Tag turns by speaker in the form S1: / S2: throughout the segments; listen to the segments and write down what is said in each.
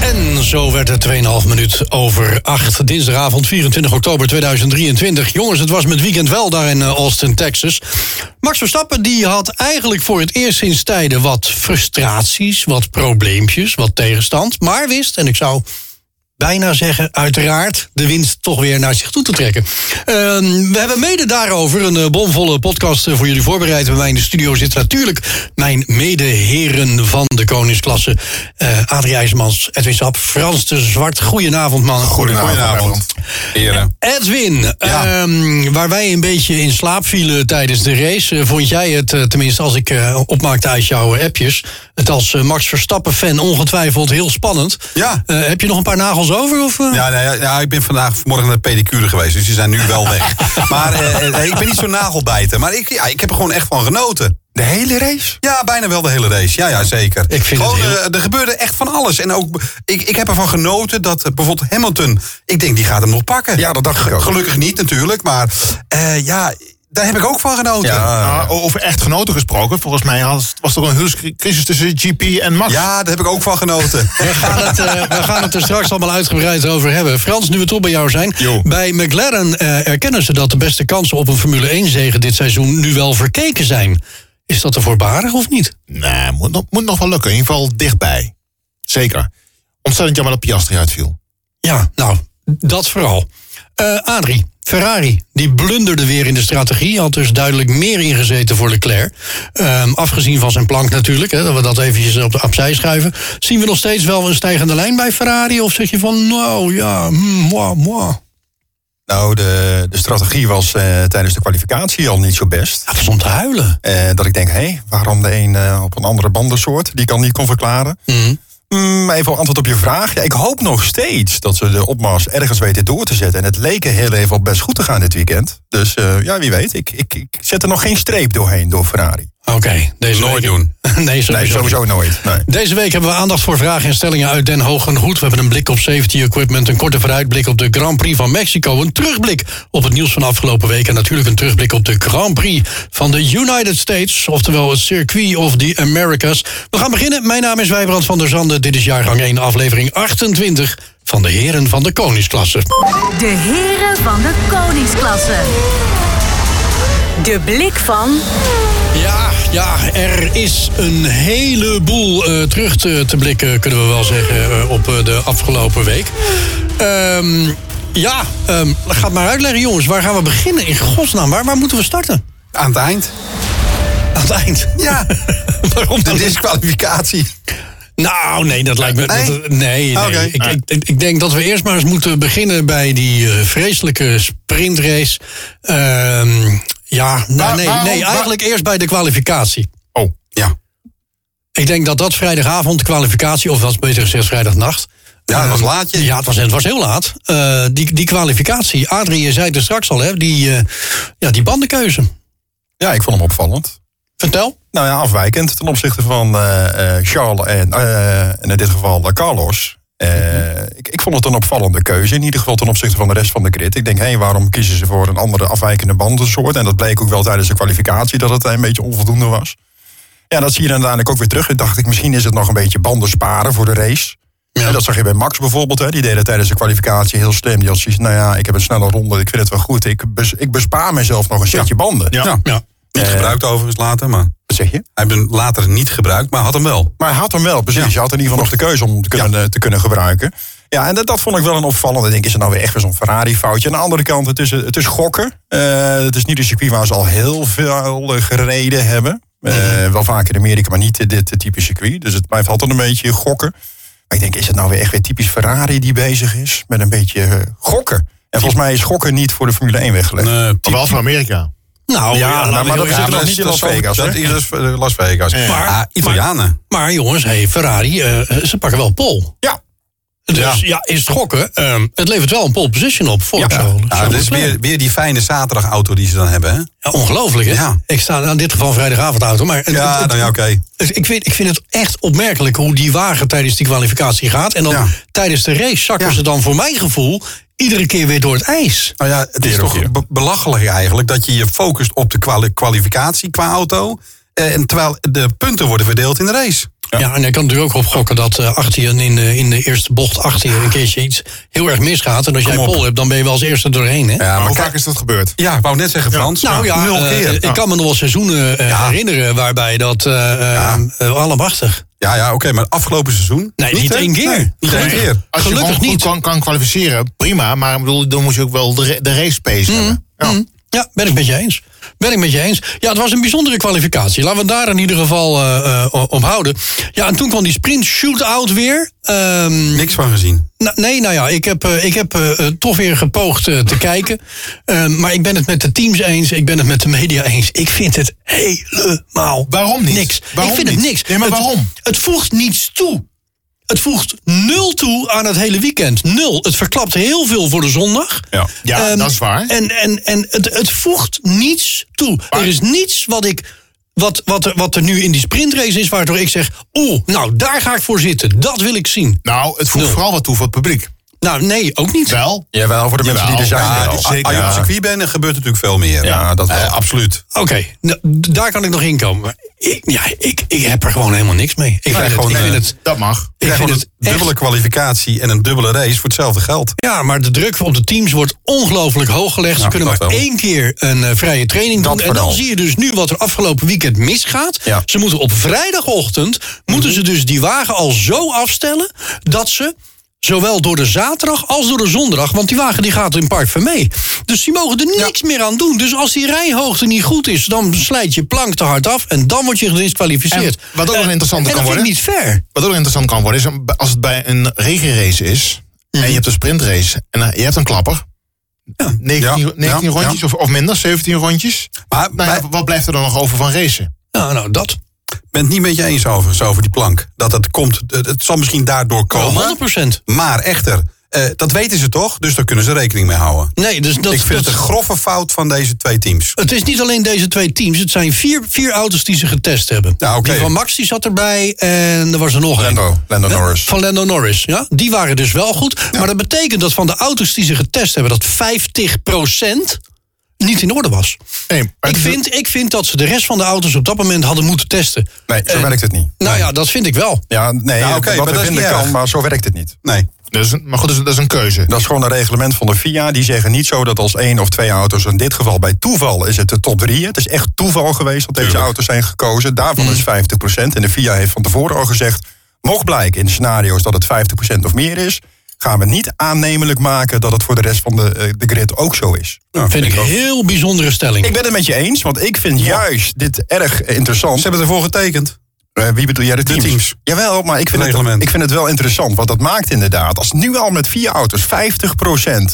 S1: En zo werd het 2,5 minuut over 8. Dinsdagavond 24 oktober 2023. Jongens, het was met weekend wel daar in eh, Austin, Texas. Max Verstappen die had eigenlijk voor het eerst sinds tijden wat frustraties, wat probleempjes, wat tegenstand. Maar wist, en ik zou bijna zeggen, uiteraard, de winst toch weer naar zich toe te trekken. Ehm, we hebben mede daarover een eh, bomvolle podcast eh, voor jullie voorbereid. Bij mij in de studio zit natuurlijk mijn medeheren van de koningsklasse. eh Adrie IJsmans, Edwin Sap, Frans de Zwart. Goedenavond, man.
S2: Goedenavond. Heren.
S1: Edwin,
S2: Ja.
S1: ehm, waar wij een beetje in slaap vielen tijdens de race, eh, vond jij het, eh, tenminste als ik eh, opmaakte uit jouw appjes, het als eh, Max Verstappen-fan ongetwijfeld heel spannend.
S2: Ja.
S1: Eh, heb je nog een paar nagels over? Of, eh?
S2: Ja, nou ja, ja, ik ben vandaag vanmorgen naar de pedicure geweest, dus die zijn nu wel weg. maar eh, eh, ik ben niet zo'n nagelbijter, maar ik, ja, ik heb er gewoon echt van genoten.
S3: De hele race?
S2: Ja, bijna wel de hele race. Ja, ja zeker.
S1: Ik vind
S2: gewoon,
S1: het heel-
S2: eh, er gebeurde echt van alles. En ook, ik, ik heb ervan genoten dat eh, bijvoorbeeld Hamilton, ik denk die gaat hem nog pakken.
S3: Ja, dat dacht ik ook.
S2: Gelukkig niet natuurlijk, maar eh, ja, daar heb ik ook van genoten.
S3: Nou, over echtgenoten gesproken, volgens mij was, was er een huwelijkscrisis tussen GP en Max.
S2: Ja, daar heb ik ook van genoten.
S1: We gaan, het, eh, we gaan het er straks allemaal uitgebreid over hebben. Frans, nu we toch bij jou zijn.
S2: Jo.
S1: Bij McLaren eh, erkennen ze dat de beste kansen op een Formule 1-zegen dit seizoen nu wel verkeken zijn. Is dat te voorbarig of niet?
S3: Nee, moet nog, moet nog wel lukken. In ieder geval dichtbij. Zeker. Ontzettend jammer dat Piastri uitviel.
S1: Ja, nou, dat vooral. Eh Adrie, Ferrari, die blunderde weer in de strategie. Had dus duidelijk meer ingezeten voor Leclerc. Ehm, afgezien van zijn plank natuurlijk, hè, dat we dat eventjes op de opzij schuiven. Zien we nog steeds wel een stijgende lijn bij Ferrari? Of zeg je van, nou ja, mm, moi, moi.
S2: nou, de, de strategie was eh, tijdens de kwalificatie al niet zo best.
S1: Dat is om Nou, te huilen.
S2: Eh, dat ik denk, hé, waarom de een eh, op een andere bandensoort? Die ik al niet kon verklaren. Mm, even antwoord op je vraag. Ja, ik hoop nog steeds dat ze de opmars ergens weten door te zetten. En het leek er heel even op best goed te gaan dit weekend. Dus eh, ja, wie weet. Ik, ik, ik zet er nog geen streep doorheen door Ferrari.
S1: Oké, deze
S2: Nooit
S1: week-
S2: doen.
S1: nee, sowieso.
S2: Nee,
S1: niet.
S2: sowieso nooit. Nee.
S1: Deze week hebben we aandacht voor vragen en stellingen uit Den Hoog en Goed. We hebben een blik op safety equipment, een korte vooruitblik op de Grand Prix van Mexico, een terugblik op het nieuws van afgelopen week en natuurlijk een terugblik op de Grand Prix van de United States, oftewel het circuit of the Americas. We gaan beginnen. Mijn naam is Wijbrand van der Zanden. Dit is jaargang 1, aflevering 28 van de Heren van de Koningsklasse.
S4: De heren van de koningsklasse. De blik van
S1: Ja, ja, er is een heleboel eh, terug te, te blikken, kunnen we wel zeggen, eh, op eh, de afgelopen week. Ehm, ja, ehm, ga het maar uitleggen, jongens. Waar gaan we beginnen? In godsnaam, waar, waar moeten we starten?
S2: Aan het eind?
S1: Aan het eind.
S2: Ja,
S1: Waarom
S2: de
S1: dan?
S2: disqualificatie.
S1: Nou, nee, dat lijkt me.
S2: Nee? Ah,
S1: dat- nee, nee.
S2: Oké.
S1: Ik, ik, ik- ik denk dat we eerst maar eens moeten beginnen bij die eh, vreselijke sprintrace. Ehm, ja, nou,
S3: Waar-
S1: nee,
S3: waarom-
S1: nee,
S3: waar-
S1: eigenlijk eerst bij de kwalificatie.
S3: Oh.
S2: Ja,
S1: Ik denk dat dat vrijdagavond de kwalificatie, of was beter gezegd vrijdagnacht.
S2: ja dat was
S1: Eh,
S2: laatje.
S1: Ja, het was, het was heel laat. Eh, die, die kwalificatie, Adrie, je zei het er straks al, hè, die, eh, ja, die bandenkeuze.
S2: Ja, ik vond hem opvallend.
S1: Vertel.
S2: Nou ja, afwijkend ten opzichte van eh, eh, Charles en, eh, en in dit geval eh, Carlos. Eh,
S3: Mhm.
S2: ik, ik vond het een opvallende keuze, in ieder geval ten opzichte van de rest van de grid. Ik denk, hé, waarom kiezen ze voor een andere afwijkende bandensoort? En dat bleek ook wel tijdens de kwalificatie dat het een beetje onvoldoende was. Ja, dat zie je dan uiteindelijk ook weer terug. En dacht ik, misschien is het nog een beetje banden sparen voor de race. En dat zag je bij Max bijvoorbeeld. Hè. Die deed het tijdens de kwalificatie heel slim. Die had zoiets, nou ja, ik heb een snelle ronde, ik vind het wel goed. Ik, bes- ik bespaar mezelf nog een setje banden. Nou,
S3: Ja.
S1: Ja.
S2: Niet gebruikt overigens later, maar...
S5: Eh, Wat zeg je?
S2: Hij heeft hem later niet gebruikt, maar had hem wel.
S5: Maar hij had hem wel, precies. Je had in ieder geval nog de keuze om hem te kunnen, te kunnen gebruiken. Ja, en dat, dat vond ik wel een opvallende. Ik denk, is het nou weer echt weer zo'n Ferrari-foutje? Aan de andere kant, het is, het is gokken. Eh, het is niet een circuit waar ze al heel veel eh, gereden hebben. Eh,
S2: Mhm.
S5: Wel vaker in Amerika, maar niet dit eh, type circuit. Dus het blijft altijd een beetje gokken. Maar ik denk, is het nou weer echt weer typisch Ferrari die bezig is? Met een beetje eh, gokken. En volgens mij is gokken niet voor de Formule 1 weggelegd.
S2: Nee,
S3: Maar wel voor Amerika.
S1: Nou ja,
S5: Ja, nou,
S1: laten we
S5: maar
S1: heel
S5: dat is
S1: eerlijk
S5: nog
S1: zijn.
S5: niet in Las
S2: dat is-
S5: Vegas,
S2: Dat
S5: hè?
S2: is dus, eh, Las Vegas.
S1: Maar-
S2: Ah, Italianen.
S1: Maar jongens, hey, Ferrari, eh, ze pakken wel pol.
S5: Ja,
S1: Dus ja,
S3: Ja.
S1: is het gokken. ehm, het levert wel een pole position op voor Charles.
S2: Ja,
S1: Charles
S2: dat is
S1: Leclerc.
S2: weer, weer die fijne zaterdagauto die ze dan hebben, hè?
S1: Ja, ongelooflijk, hè?
S2: Ja.
S1: Ik sta in dit geval vrijdagavondauto. Maar het-
S2: Ja,
S1: het-
S2: nou ja, oké.
S1: het- ik, vind, ik vind het echt opmerkelijk hoe die wagen tijdens die kwalificatie gaat. En dan
S2: Ja.
S1: tijdens de race zakken
S2: Ja.
S1: ze dan voor mijn gevoel iedere keer weer door het ijs.
S2: Nou ja, het is
S5: Keer op keer.
S2: toch be- belachelijk eigenlijk dat je je focust op de kwali- kwalificatie qua auto. eh, En terwijl de punten worden verdeeld in de race.
S1: Ja, en hij kan natuurlijk ook op gokken dat eh, achter je in de, in de eerste bocht achter je een keertje iets heel erg misgaat. En als jij
S2: Kom op.
S1: pol hebt, dan ben je wel als eerste doorheen, hè?
S2: Ja,
S3: Maar
S2: maar
S3: hoe
S2: kijk,
S3: vaak is dat gebeurd?
S2: ja, ik wou net zeggen, Frans.
S1: Nou ja,
S2: nul
S1: eh,
S2: keer.
S1: ik kan me nog wel seizoenen eh, herinneren waarbij dat eh eh, allemachtig.
S2: Ja, ja oké, maar afgelopen seizoen.
S1: Nee, niet één keer.
S2: Nee, niet één
S1: Nee.
S2: keer.
S3: Als
S1: Gelukkig
S3: je gewoon goed
S1: niet.
S3: Kan, kan kwalificeren, prima. Maar ik bedoel, dan moet je ook wel de, ra- de race pace hebben. Ja.
S1: Ja, ben ik met je eens. Ben ik met je eens. Ja, het was een bijzondere kwalificatie. Laten we het daar in ieder geval eh, eh, op houden. Ja, en toen kwam die sprint shootout weer. Ehm,
S2: Niks van gezien.
S1: Nou, nee, nou ja, ik heb, eh, ik heb eh, eh, toch weer gepoogd eh, te kijken. Eh, maar ik ben het met de teams eens, ik ben het met de media eens. Ik vind het helemaal
S3: Waarom niet?
S1: niks.
S3: Waarom
S1: ik vind het
S3: niet?
S1: niks.
S3: Nee, maar
S1: Het-
S3: waarom?
S1: Het voegt niets toe. Het voegt nul toe aan het hele weekend. Nul. Het verklapt heel veel voor de zondag.
S5: Ja.
S3: Ja,
S1: Ehm,
S3: dat is waar.
S1: En, en, en het, het voegt niets toe. Er is niets wat ik. Wat, wat, er, wat er nu in die sprintrace is, waardoor ik zeg: Oeh, nou daar ga ik voor zitten. Dat wil ik zien.
S3: Nou, het voegt vooral wat toe voor het publiek.
S1: Nou, nee, ook niet.
S3: Wel,
S2: Jawel, voor de mensen
S3: Jawel,
S2: die er zijn.
S3: ja,
S2: wel.
S3: dit zeker.
S2: Als je op het circuit bent, dan gebeurt natuurlijk veel meer.
S5: Ja, dat wel.
S2: Eh, absoluut.
S1: Oké, nou, d- daar kan ik nog in komen. Maar Ik, ja, ik, ik heb er gewoon helemaal niks mee. Oh, Ik, vind,
S2: gewoon,
S1: het, ik
S2: eh,
S1: vind het.
S3: dat mag.
S2: Je
S1: Ik
S2: krijgt
S1: vind
S2: gewoon
S1: het
S2: een dubbele
S1: echt-
S2: kwalificatie en een dubbele race voor hetzelfde geld.
S1: Ja, maar de druk op de teams wordt ongelooflijk hoog gelegd. Ze
S2: Nou,
S1: kunnen maar
S2: dat wel.
S1: één keer een eh, vrije training
S2: Dat
S1: doen. En dan
S2: vooral.
S1: zie je dus nu wat er afgelopen weekend misgaat.
S2: Ja.
S1: Ze moeten op vrijdagochtend moeten ze dus die wagen al zo afstellen dat ze. Zowel door de zaterdag als door de zondag. Want die wagen die gaat in Park van mee. Dus die mogen er niks meer aan doen. Dus als die rijhoogte niet goed is, dan slijt je plank te hard af. En dan word je gedisqualificeerd.
S3: En wat ook nog
S1: Eh,
S3: interessanter
S1: en
S3: kan
S1: dat
S3: worden?
S1: vind ik niet fair.
S3: Wat ook interessant kan worden, is een- als het bij een regenrace is... en je hebt een sprintrace en eh, je hebt een klapper... 19,
S2: Ja.
S3: 19
S2: Ja.
S3: rondjes Of, of minder, 17 rondjes.
S2: Maar
S3: Nou ja,
S2: wij-
S3: wat blijft er dan nog over van racen?
S1: Nou, nou dat.
S2: Ik ben het niet met je eens overigens over die plank. Dat het komt, het het zal misschien daardoor komen.
S1: 100%.
S2: Maar echter, eh, dat weten ze toch, dus daar kunnen ze rekening mee houden.
S1: Nee, dus dat,
S2: Ik vind het
S1: dat,
S2: een grove fout van deze twee teams.
S1: Het is niet alleen deze twee teams. Het zijn vier, vier auto's die ze getest hebben.
S2: Ja, oké.
S1: Die van Max die zat erbij en er was er nog een.
S2: Lando, Lando Norris.
S1: Van Lando Norris, ja. Die waren dus wel goed. Maar dat betekent dat van de auto's die ze getest hebben... dat 50% niet in orde was.
S3: Nee, maar
S1: Ik
S3: het-
S1: vind, ik vind dat ze de rest van de auto's op dat moment hadden moeten testen.
S5: Nee, zo werkt het niet.
S1: Nou ja, dat vind ik wel.
S5: Ja, nee,
S2: Eh, Nou, oké,
S5: wat
S2: maar
S5: we
S2: dat is
S5: vinden
S2: niet
S5: kan,
S2: erg.
S5: maar zo werkt het niet.
S2: Nee.
S3: dat is een- maar goed, dat is, dat is een keuze.
S5: Dat is gewoon een reglement van de FIA. Die zeggen niet zo dat als één of twee auto's, in dit geval bij toeval is het de top drie. Het is echt toeval geweest dat deze
S2: Tuurlijk.
S5: auto's zijn gekozen. Daarvan
S1: Mm.
S5: is 50%. En de FIA heeft van tevoren al gezegd, mocht blijken in scenario's dat het 50% of meer is, gaan we niet aannemelijk maken dat het voor de rest van de, eh, de grid ook zo is.
S1: Dat vind ik een heel bijzondere stelling.
S5: Ik ben het met je eens, want ik vind juist dit erg interessant.
S2: Ze hebben het ervoor getekend.
S5: Eh, wie bedoel jij? De teams.
S2: teams.
S5: Jawel, maar ik vind, het,
S2: Reglement.
S5: ik vind het wel interessant. Want dat maakt inderdaad, als nu al met vier auto's 50%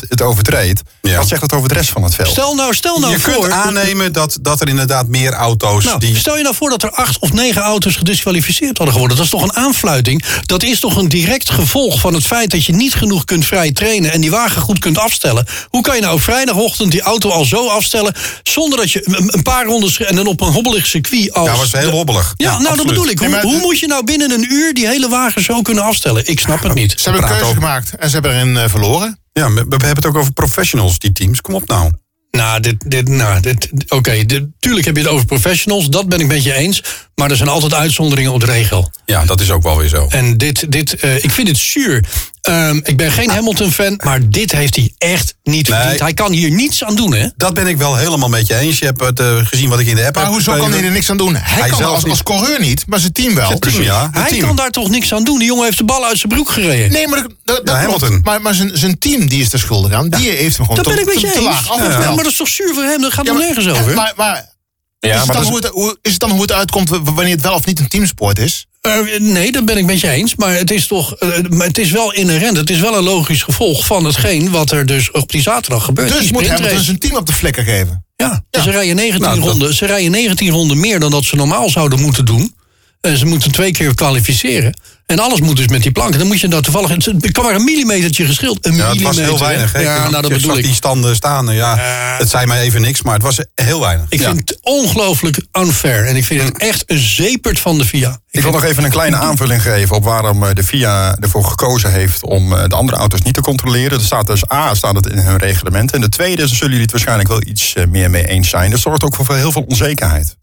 S5: het overtreedt...
S2: Ja.
S5: wat zegt dat over de rest van het veld?
S1: Stel nou, stel nou
S2: je
S1: voor...
S2: kunt eh, aannemen dat, dat er inderdaad meer auto's
S1: Nou,
S2: die...
S1: Stel je nou voor dat er acht of negen auto's gedisqualificeerd hadden geworden. Dat is toch een aanfluiting? Dat is toch een direct gevolg van het feit dat je niet genoeg kunt vrij trainen... en die wagen goed kunt afstellen. Hoe kan je nou op vrijdagochtend die auto al zo afstellen... zonder dat je een een paar rondes en dan op een hobbelig circuit... Als
S2: Ja, was heel
S1: de-
S2: hobbelig.
S1: Ja, nou dat
S2: absoluut.
S1: bedoel ik. Hoe,
S3: Nee, maar
S1: hoe
S3: het-
S1: moet je nou binnen een uur die hele wagen zo kunnen afstellen? Ik snap het niet.
S3: Ze hebben een
S2: Praat
S3: keuze
S2: over.
S3: gemaakt en ze hebben erin eh, verloren.
S2: Ja, we, we hebben het ook over professionals, die teams. Kom op nou.
S1: Nou, dit, dit, nou, dit, oké, dit- tuurlijk heb je het over professionals, dat ben ik met je eens. Maar er zijn altijd uitzonderingen op de regel.
S2: Ja, dat is ook wel weer zo.
S1: En dit, dit eh, ik vind het zuur. Ehm, ik ben geen Hamilton-fan, maar dit heeft hij echt niet
S2: Nee.
S1: verdiend. Hij kan hier niets aan doen, hè?
S2: Dat ben ik wel helemaal met je eens. Je hebt het eh, gezien wat ik in de app
S3: Maar
S2: heb
S3: hoezo kan
S2: geschreven.
S3: hij er niks aan doen? Hij,
S2: Hij
S3: kan er
S2: zelf
S3: als,
S2: niet.
S3: als coureur niet, maar zijn team wel.
S2: team, ja. Het
S1: Hij
S2: team.
S1: kan daar toch niks aan doen? Die jongen heeft de bal uit zijn broek gereden.
S3: Nee, maar, dat- dat, dat
S2: Ja,
S3: klopt.
S2: Hamilton.
S3: maar, maar zijn, zijn team die is er schuldig aan. Die heeft hem gewoon
S1: dat
S3: te,
S1: ben ik met
S3: te-
S1: je
S3: te
S1: eens.
S3: laag
S1: Ja, maar
S3: afgesteld.
S1: dat is toch zuur voor hem? Dat gaat
S3: Ja,
S1: er
S3: maar-
S1: nergens
S3: eh,
S1: over.
S3: Maar, maar,
S2: Ja,
S3: is,
S2: maar
S3: het dan
S2: dat is-
S3: hoe het, hoe, is het dan hoe het uitkomt w- w- wanneer het wel of niet een teamsport is?
S1: Eh, nee, dat ben ik met je eens. Maar het is toch. eh, maar het is wel inherent. Het is wel een logisch gevolg van hetgeen wat er dus op die zaterdag gebeurt.
S3: Dus
S1: die
S3: moet
S1: sprintrace.
S3: Hamilton zijn team op de flikker geven.
S1: Ja, Ze, rijden 19
S2: Nou, dat-
S1: ronden, ze rijden 19 ronden meer dan dat ze normaal zouden moeten doen. En ze moeten twee keer kwalificeren. En alles moet dus met die planken. Dan moet je daar toevallig. het- Het kan maar een millimetertje geschild. Een
S2: Ja, het was
S1: millimeter,
S2: heel
S1: hè?
S2: weinig. Hè?
S1: Ja,
S2: Ik
S1: nou, dat
S2: zag
S1: bedoel ik.
S2: die standen staan. eh, Ja, het zei mij even niks, maar het was heel weinig.
S1: Ik
S2: Ja.
S1: vind het ongelooflijk unfair. En ik vind het echt een zepert van de FIA.
S5: Ik wil nog even een kleine aanvulling geven op waarom eh, de FIA ervoor gekozen heeft om eh, de andere auto's niet te controleren. Er staat dus A, staat het in hun reglement. En de tweede, daar zullen jullie het waarschijnlijk wel iets eh, meer mee eens zijn. Dat zorgt ook voor heel veel onzekerheid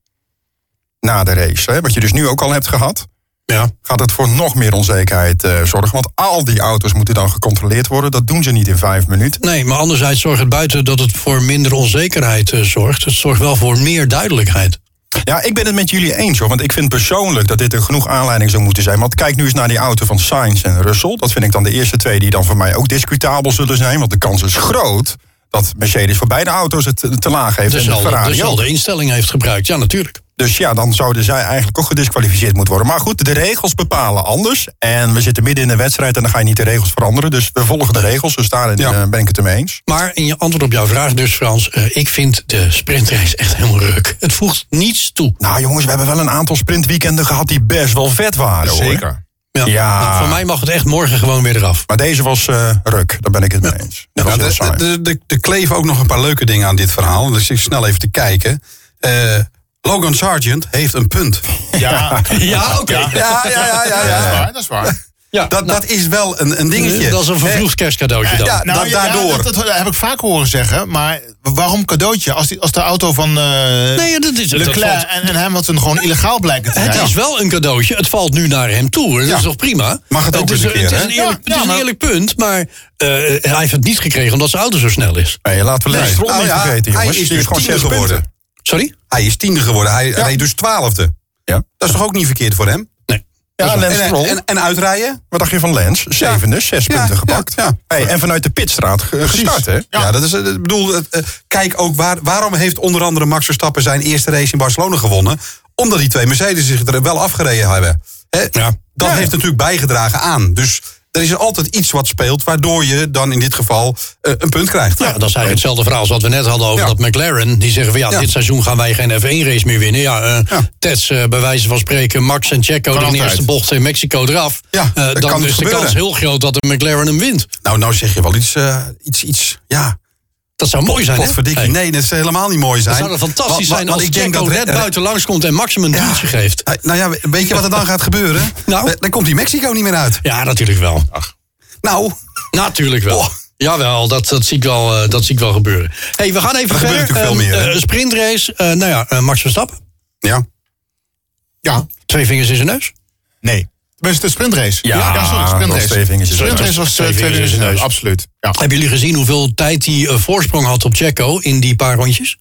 S5: na de race. Hè? Wat je dus nu ook al hebt gehad.
S2: Ja.
S5: Gaat het voor nog meer onzekerheid eh, zorgen? Want al die auto's moeten dan gecontroleerd worden. Dat doen ze niet in vijf minuten.
S1: Nee, maar anderzijds zorgt het buiten dat het voor minder onzekerheid eh, zorgt. Het zorgt wel voor meer duidelijkheid.
S5: Ja, ik ben het met jullie eens hoor. Want ik vind persoonlijk dat dit een genoeg aanleiding zou moeten zijn. Want kijk nu eens naar die auto van Sainz en Russell. Dat vind ik dan de eerste twee die dan voor mij ook discutabel zullen zijn. Want de kans is groot dat Mercedes voor beide auto's het te- te laag heeft. en de
S1: Dezelfde,
S5: Ferrari ook.
S1: dezelfde instelling heeft gebruikt. Ja, natuurlijk.
S5: Dus ja, dan zouden zij eigenlijk ook gedisqualificeerd moeten worden. Maar goed, de regels bepalen anders. En we zitten midden in een wedstrijd en dan ga je niet de regels veranderen. Dus we volgen de regels. Dus daarin
S2: Ja.
S5: eh, ben ik het ermee eens.
S1: Maar in je antwoord op jouw vraag dus, Frans. eh, ik vind de sprintrace echt helemaal ruk. Het voegt niets toe.
S5: Nou jongens, we hebben wel een aantal sprintweekenden gehad die best wel vet waren. hoor.
S1: Ja.
S5: Ja.
S1: Nou, voor mij mag het echt morgen gewoon weer eraf.
S5: Maar deze was eh, ruk, daar ben ik het mee eens. Dat was
S2: Ja,
S5: heel
S2: de-
S5: saai.
S2: de- de- Er kleven ook nog een paar leuke dingen aan dit verhaal. Dus ik snel even te kijken. Eh, Logan Sargent heeft een punt.
S3: Ja,
S1: Ja, oké.
S2: Ja, ja, ja, ja.
S3: dat is waar. Dat is waar.
S2: Dat, dat is wel een, een dingetje.
S1: Nou, Dat is een vervroegd kerstcadeautje dan.
S2: Ja,
S3: Nou,
S2: dat
S3: ja,
S2: daardoor.
S3: dat, dat heb ik vaak horen zeggen. Maar waarom cadeautje? Als, die, als de auto van eh
S1: Nee, dat is, dat
S3: Leclerc
S1: valt,
S3: en, en Hamilton gewoon illegaal blijken te zijn.
S1: het is wel een cadeautje. Het valt nu naar hem toe. hoor. Dat is toch prima?
S2: Mag het ook
S1: is,
S2: eens een keer,
S1: het is
S2: hè? nou.
S1: een eerlijk,
S3: Ja,
S1: het is
S3: ja,
S1: een
S3: maar-
S1: eerlijk punt, maar eh, hij heeft het niet gekregen omdat zijn auto zo snel is.
S5: Nee, laten we Ah, Lance Stroll
S2: Oh
S5: niet
S2: ja,
S5: vergeten,
S2: hij
S5: jongens.
S2: is
S5: Die
S2: dus
S5: gewoon
S2: tiende
S5: zes punten.
S2: geworden.
S1: Sorry?
S2: Hij is tiende geworden. Hij reed dus twaalfde.
S5: Ja.
S2: Dat is toch ook niet verkeerd voor hem?
S5: Ja, Lance
S2: En,
S5: Stroll.
S2: en, en uitrijden?
S5: Wat dacht je van Lance? Zevende, zes
S2: Ja,
S5: punten
S2: ja,
S5: gepakt.
S2: ja.
S5: Hey, en vanuit de pitstraat ge- gestart, hè?
S2: Ja, dat is. eh, Ik bedoel, eh, eh, kijk ook waar, waarom heeft onder andere Max Verstappen zijn eerste race in Barcelona gewonnen? Omdat die twee Mercedes zich er wel afgereden hebben. Hè? Dat heeft natuurlijk bijgedragen aan. Dus er is altijd iets wat speelt, waardoor je dan in dit geval eh, een punt krijgt.
S1: Ja, dat is eigenlijk hetzelfde verhaal als wat we net hadden over
S2: Ja.
S1: dat McLaren. Die zeggen van ja,
S2: Ja.
S1: dit seizoen gaan wij geen F1-race meer winnen. Ja, eh
S2: Ja.
S1: Tets, eh, bij wijze van spreken, Max en Checo in de
S3: altijd.
S1: eerste bocht in Mexico eraf.
S2: Ja,
S1: Eh,
S2: dat
S1: dan
S2: kan
S1: is de
S2: gebeuren.
S1: kans heel groot dat de McLaren hem wint.
S2: Nou, nou zeg je wel iets, eh, iets, iets, ja.
S1: Dat zou mooi zijn, hè?
S2: Potverdikkie.
S1: Hey,
S2: Nee, dat zou helemaal niet mooi zijn.
S1: Dat zou er fantastisch
S2: Want-
S1: zijn
S2: want
S1: als
S2: ik denk
S1: Checo
S2: dat
S1: red
S2: Red-
S1: buiten langskomt en Max hem een duwtje geeft.
S2: Eh, Nou ja, weet je wat er dan gaat gebeuren?
S1: Nou?
S2: Eh, Dan komt die Mexico niet meer uit.
S1: Ja, natuurlijk wel.
S2: Nou,
S1: Natuurlijk wel.
S2: Oh.
S1: Jawel, dat, dat, zie ik wel, eh, dat zie ik wel gebeuren. hey, we gaan even
S2: Er
S1: verder.
S2: gebeurt natuurlijk veel
S1: Ehm,
S2: meer, hè?
S1: eh, sprintrace, eh, nou ja, eh, Max Verstappen.
S2: ja.
S3: Ja.
S1: Twee vingers in zijn neus.
S3: Nee. Tenminste, de sprintrace.
S5: Ja,
S3: sorry,
S5: dat was
S3: sprintrace.
S5: twee vingers in de
S3: sprintrace
S1: neus.
S3: was eh,
S1: Twee
S3: twee
S1: vingers
S3: vingers
S1: in
S3: in
S1: de neus.
S3: Absoluut. Ja.
S1: Hebben jullie gezien hoeveel tijd hij eh, voorsprong had op Checo in die paar rondjes?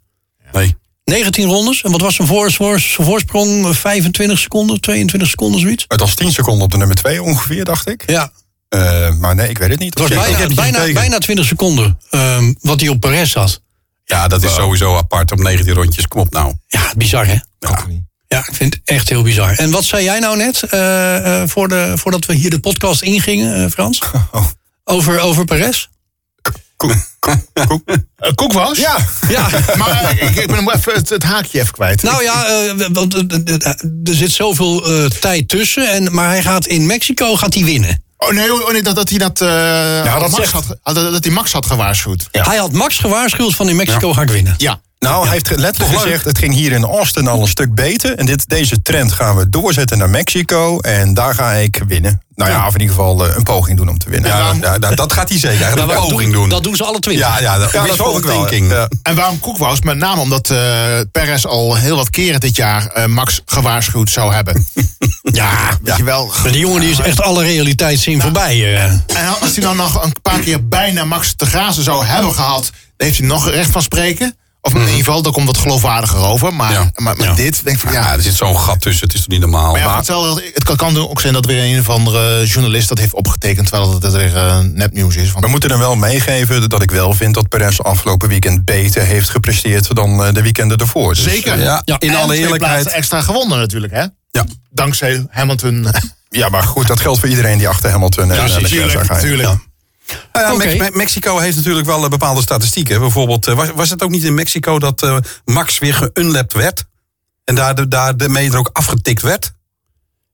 S2: Nee.
S1: 19 rondes. En wat was zijn, voor, voor- zijn voorsprong? Eh, 25 seconden, 22 seconden, zoiets?
S5: Het was 10 seconden op de nummer 2 ongeveer, dacht ik.
S1: Ja,
S5: Eh, maar nee, ik weet het niet.
S1: het was
S5: Check
S1: bijna,
S5: dat.
S1: bijna, bijna 20 seconden ehm, wat hij op Perez had.
S2: Ja, dat is sowieso apart om 19 rondjes. Kom op nou.
S1: Ja, bizar hè?
S2: Ja.
S5: Nou,
S1: Ja, ik vind het echt heel bizar. En wat zei jij nou net, eh, eh, voor de, voordat we hier de podcast ingingen, eh, Frans? Over, over Perez?
S3: Eh, Koek was?
S5: Ja,
S1: Ja,
S3: Maar ik, ik ben hem even het, het haakje even kwijt.
S1: nou ja, eh, want eh, eh, eh, er zit zoveel eh, tijd tussen. En, maar hij gaat in Mexico gaat hij winnen.
S3: Oh nee, oh, nee dat, dat hij dat, eh,
S5: dat
S3: Max
S5: zegt-
S3: had, ge- ah, dat, dat hij Max had gewaarschuwd.
S1: Hij had Max gewaarschuwd van in Mexico ga ik winnen.
S3: Ja.
S5: Nou, hij heeft letterlijk
S2: Toch leuk.
S5: gezegd, het ging hier in Austin al een stuk beter. En dit, deze trend gaan we doorzetten naar Mexico. En daar ga ik winnen. Nou ja, of in ieder geval eh, een poging doen om te winnen.
S2: Ja, ja, dat- dat gaat hij zeker. Hij gaat een poging doen.
S1: Dat doen ze alle twintig.
S2: Ja, ja, dat,
S5: Ja, dat
S2: wishful
S5: vond ik wel,
S2: thinking.
S5: ja.
S3: En waarom Koekwaus? Met name omdat eh Perez al heel wat keren dit jaar eh, Max gewaarschuwd zou hebben. ja, weet je wel.
S1: Maar Die jongen die is echt alle realiteitszin voorbij. eh.
S3: En als hij dan nog een paar keer bijna Max te grazen zou hebben gehad, dan heeft hij nog recht van spreken. Of in ieder geval, daar komt wat geloofwaardiger over. Maar,
S2: Ja.
S3: maar met
S2: Ja.
S3: dit denk ik van
S2: Ja,
S3: Mhm. ja.
S2: er zit zo'n gat tussen. Het is toch niet normaal.
S3: Maar ja,
S2: Maar-
S3: hetzelfde- het kan, kan ook zijn dat weer een of andere journalist dat heeft opgetekend, terwijl het dat weer eh, nepnieuws is. Want
S5: We moeten hem wel meegeven dat ik wel vind dat Perez afgelopen weekend beter heeft gepresteerd dan eh, de weekenden ervoor. Dus,
S3: Zeker.
S5: eh,
S2: ja,
S1: Ja,
S2: in
S3: En
S2: alle
S3: twee plaatsen
S2: eerlijkheid.
S3: extra gewonnen natuurlijk, hè?
S2: Ja.
S3: Dankzij Hamilton.
S5: ja, maar goed, dat geldt voor iedereen die achter Hamilton eh, en
S3: Precies,
S5: natuurlijk.
S2: Nou ja,
S1: Oké.
S2: Mex- Me- Mexico heeft natuurlijk wel eh, bepaalde statistieken. Bijvoorbeeld, eh, was, was het ook niet in Mexico dat eh, Max weer geunlapt werd? En daar de, daar de meter ook afgetikt werd?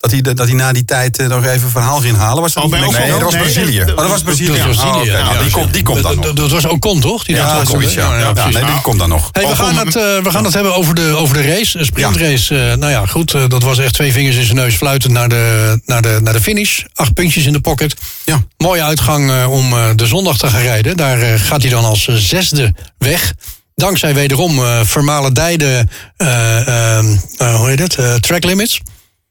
S2: Dat hij, de- dat hij na die tijd eh, nog even een verhaal ging halen?
S1: Oh,
S2: Was dat niet in
S5: Ocon?
S2: Mexico?
S5: Nee, dat was Brazilië.
S3: eh,
S5: Oh,
S2: Oh, dat was Brazilië.
S1: Dat was Brazilië,
S2: Oh, oké.
S1: ja,
S2: Nou, die,
S1: ja.
S2: komt, die komt dan
S1: Dat-
S2: nog.
S1: dat- Dat was Ocon, toch? Die
S2: Ja,
S1: dacht,
S2: zoiets, ja.
S1: ja,
S2: Ja,
S1: precies.
S2: nee, die komt dan nog.
S1: Hey, we,
S2: Ocon-
S1: gaan het, eh, we gaan het hebben over de, over de race, de sprintrace. Eh, nou ja, goed, eh, dat was echt twee vingers in zijn neus fluitend naar de, naar, de, naar de finish. Acht puntjes in de pocket.
S2: Ja.
S1: Mooie uitgang eh, om eh, de zondag te gaan rijden. Daar eh, gaat hij dan als eh, zesde weg. Dankzij wederom eh vermalen dijden, hoe heet het, Eh, track limits.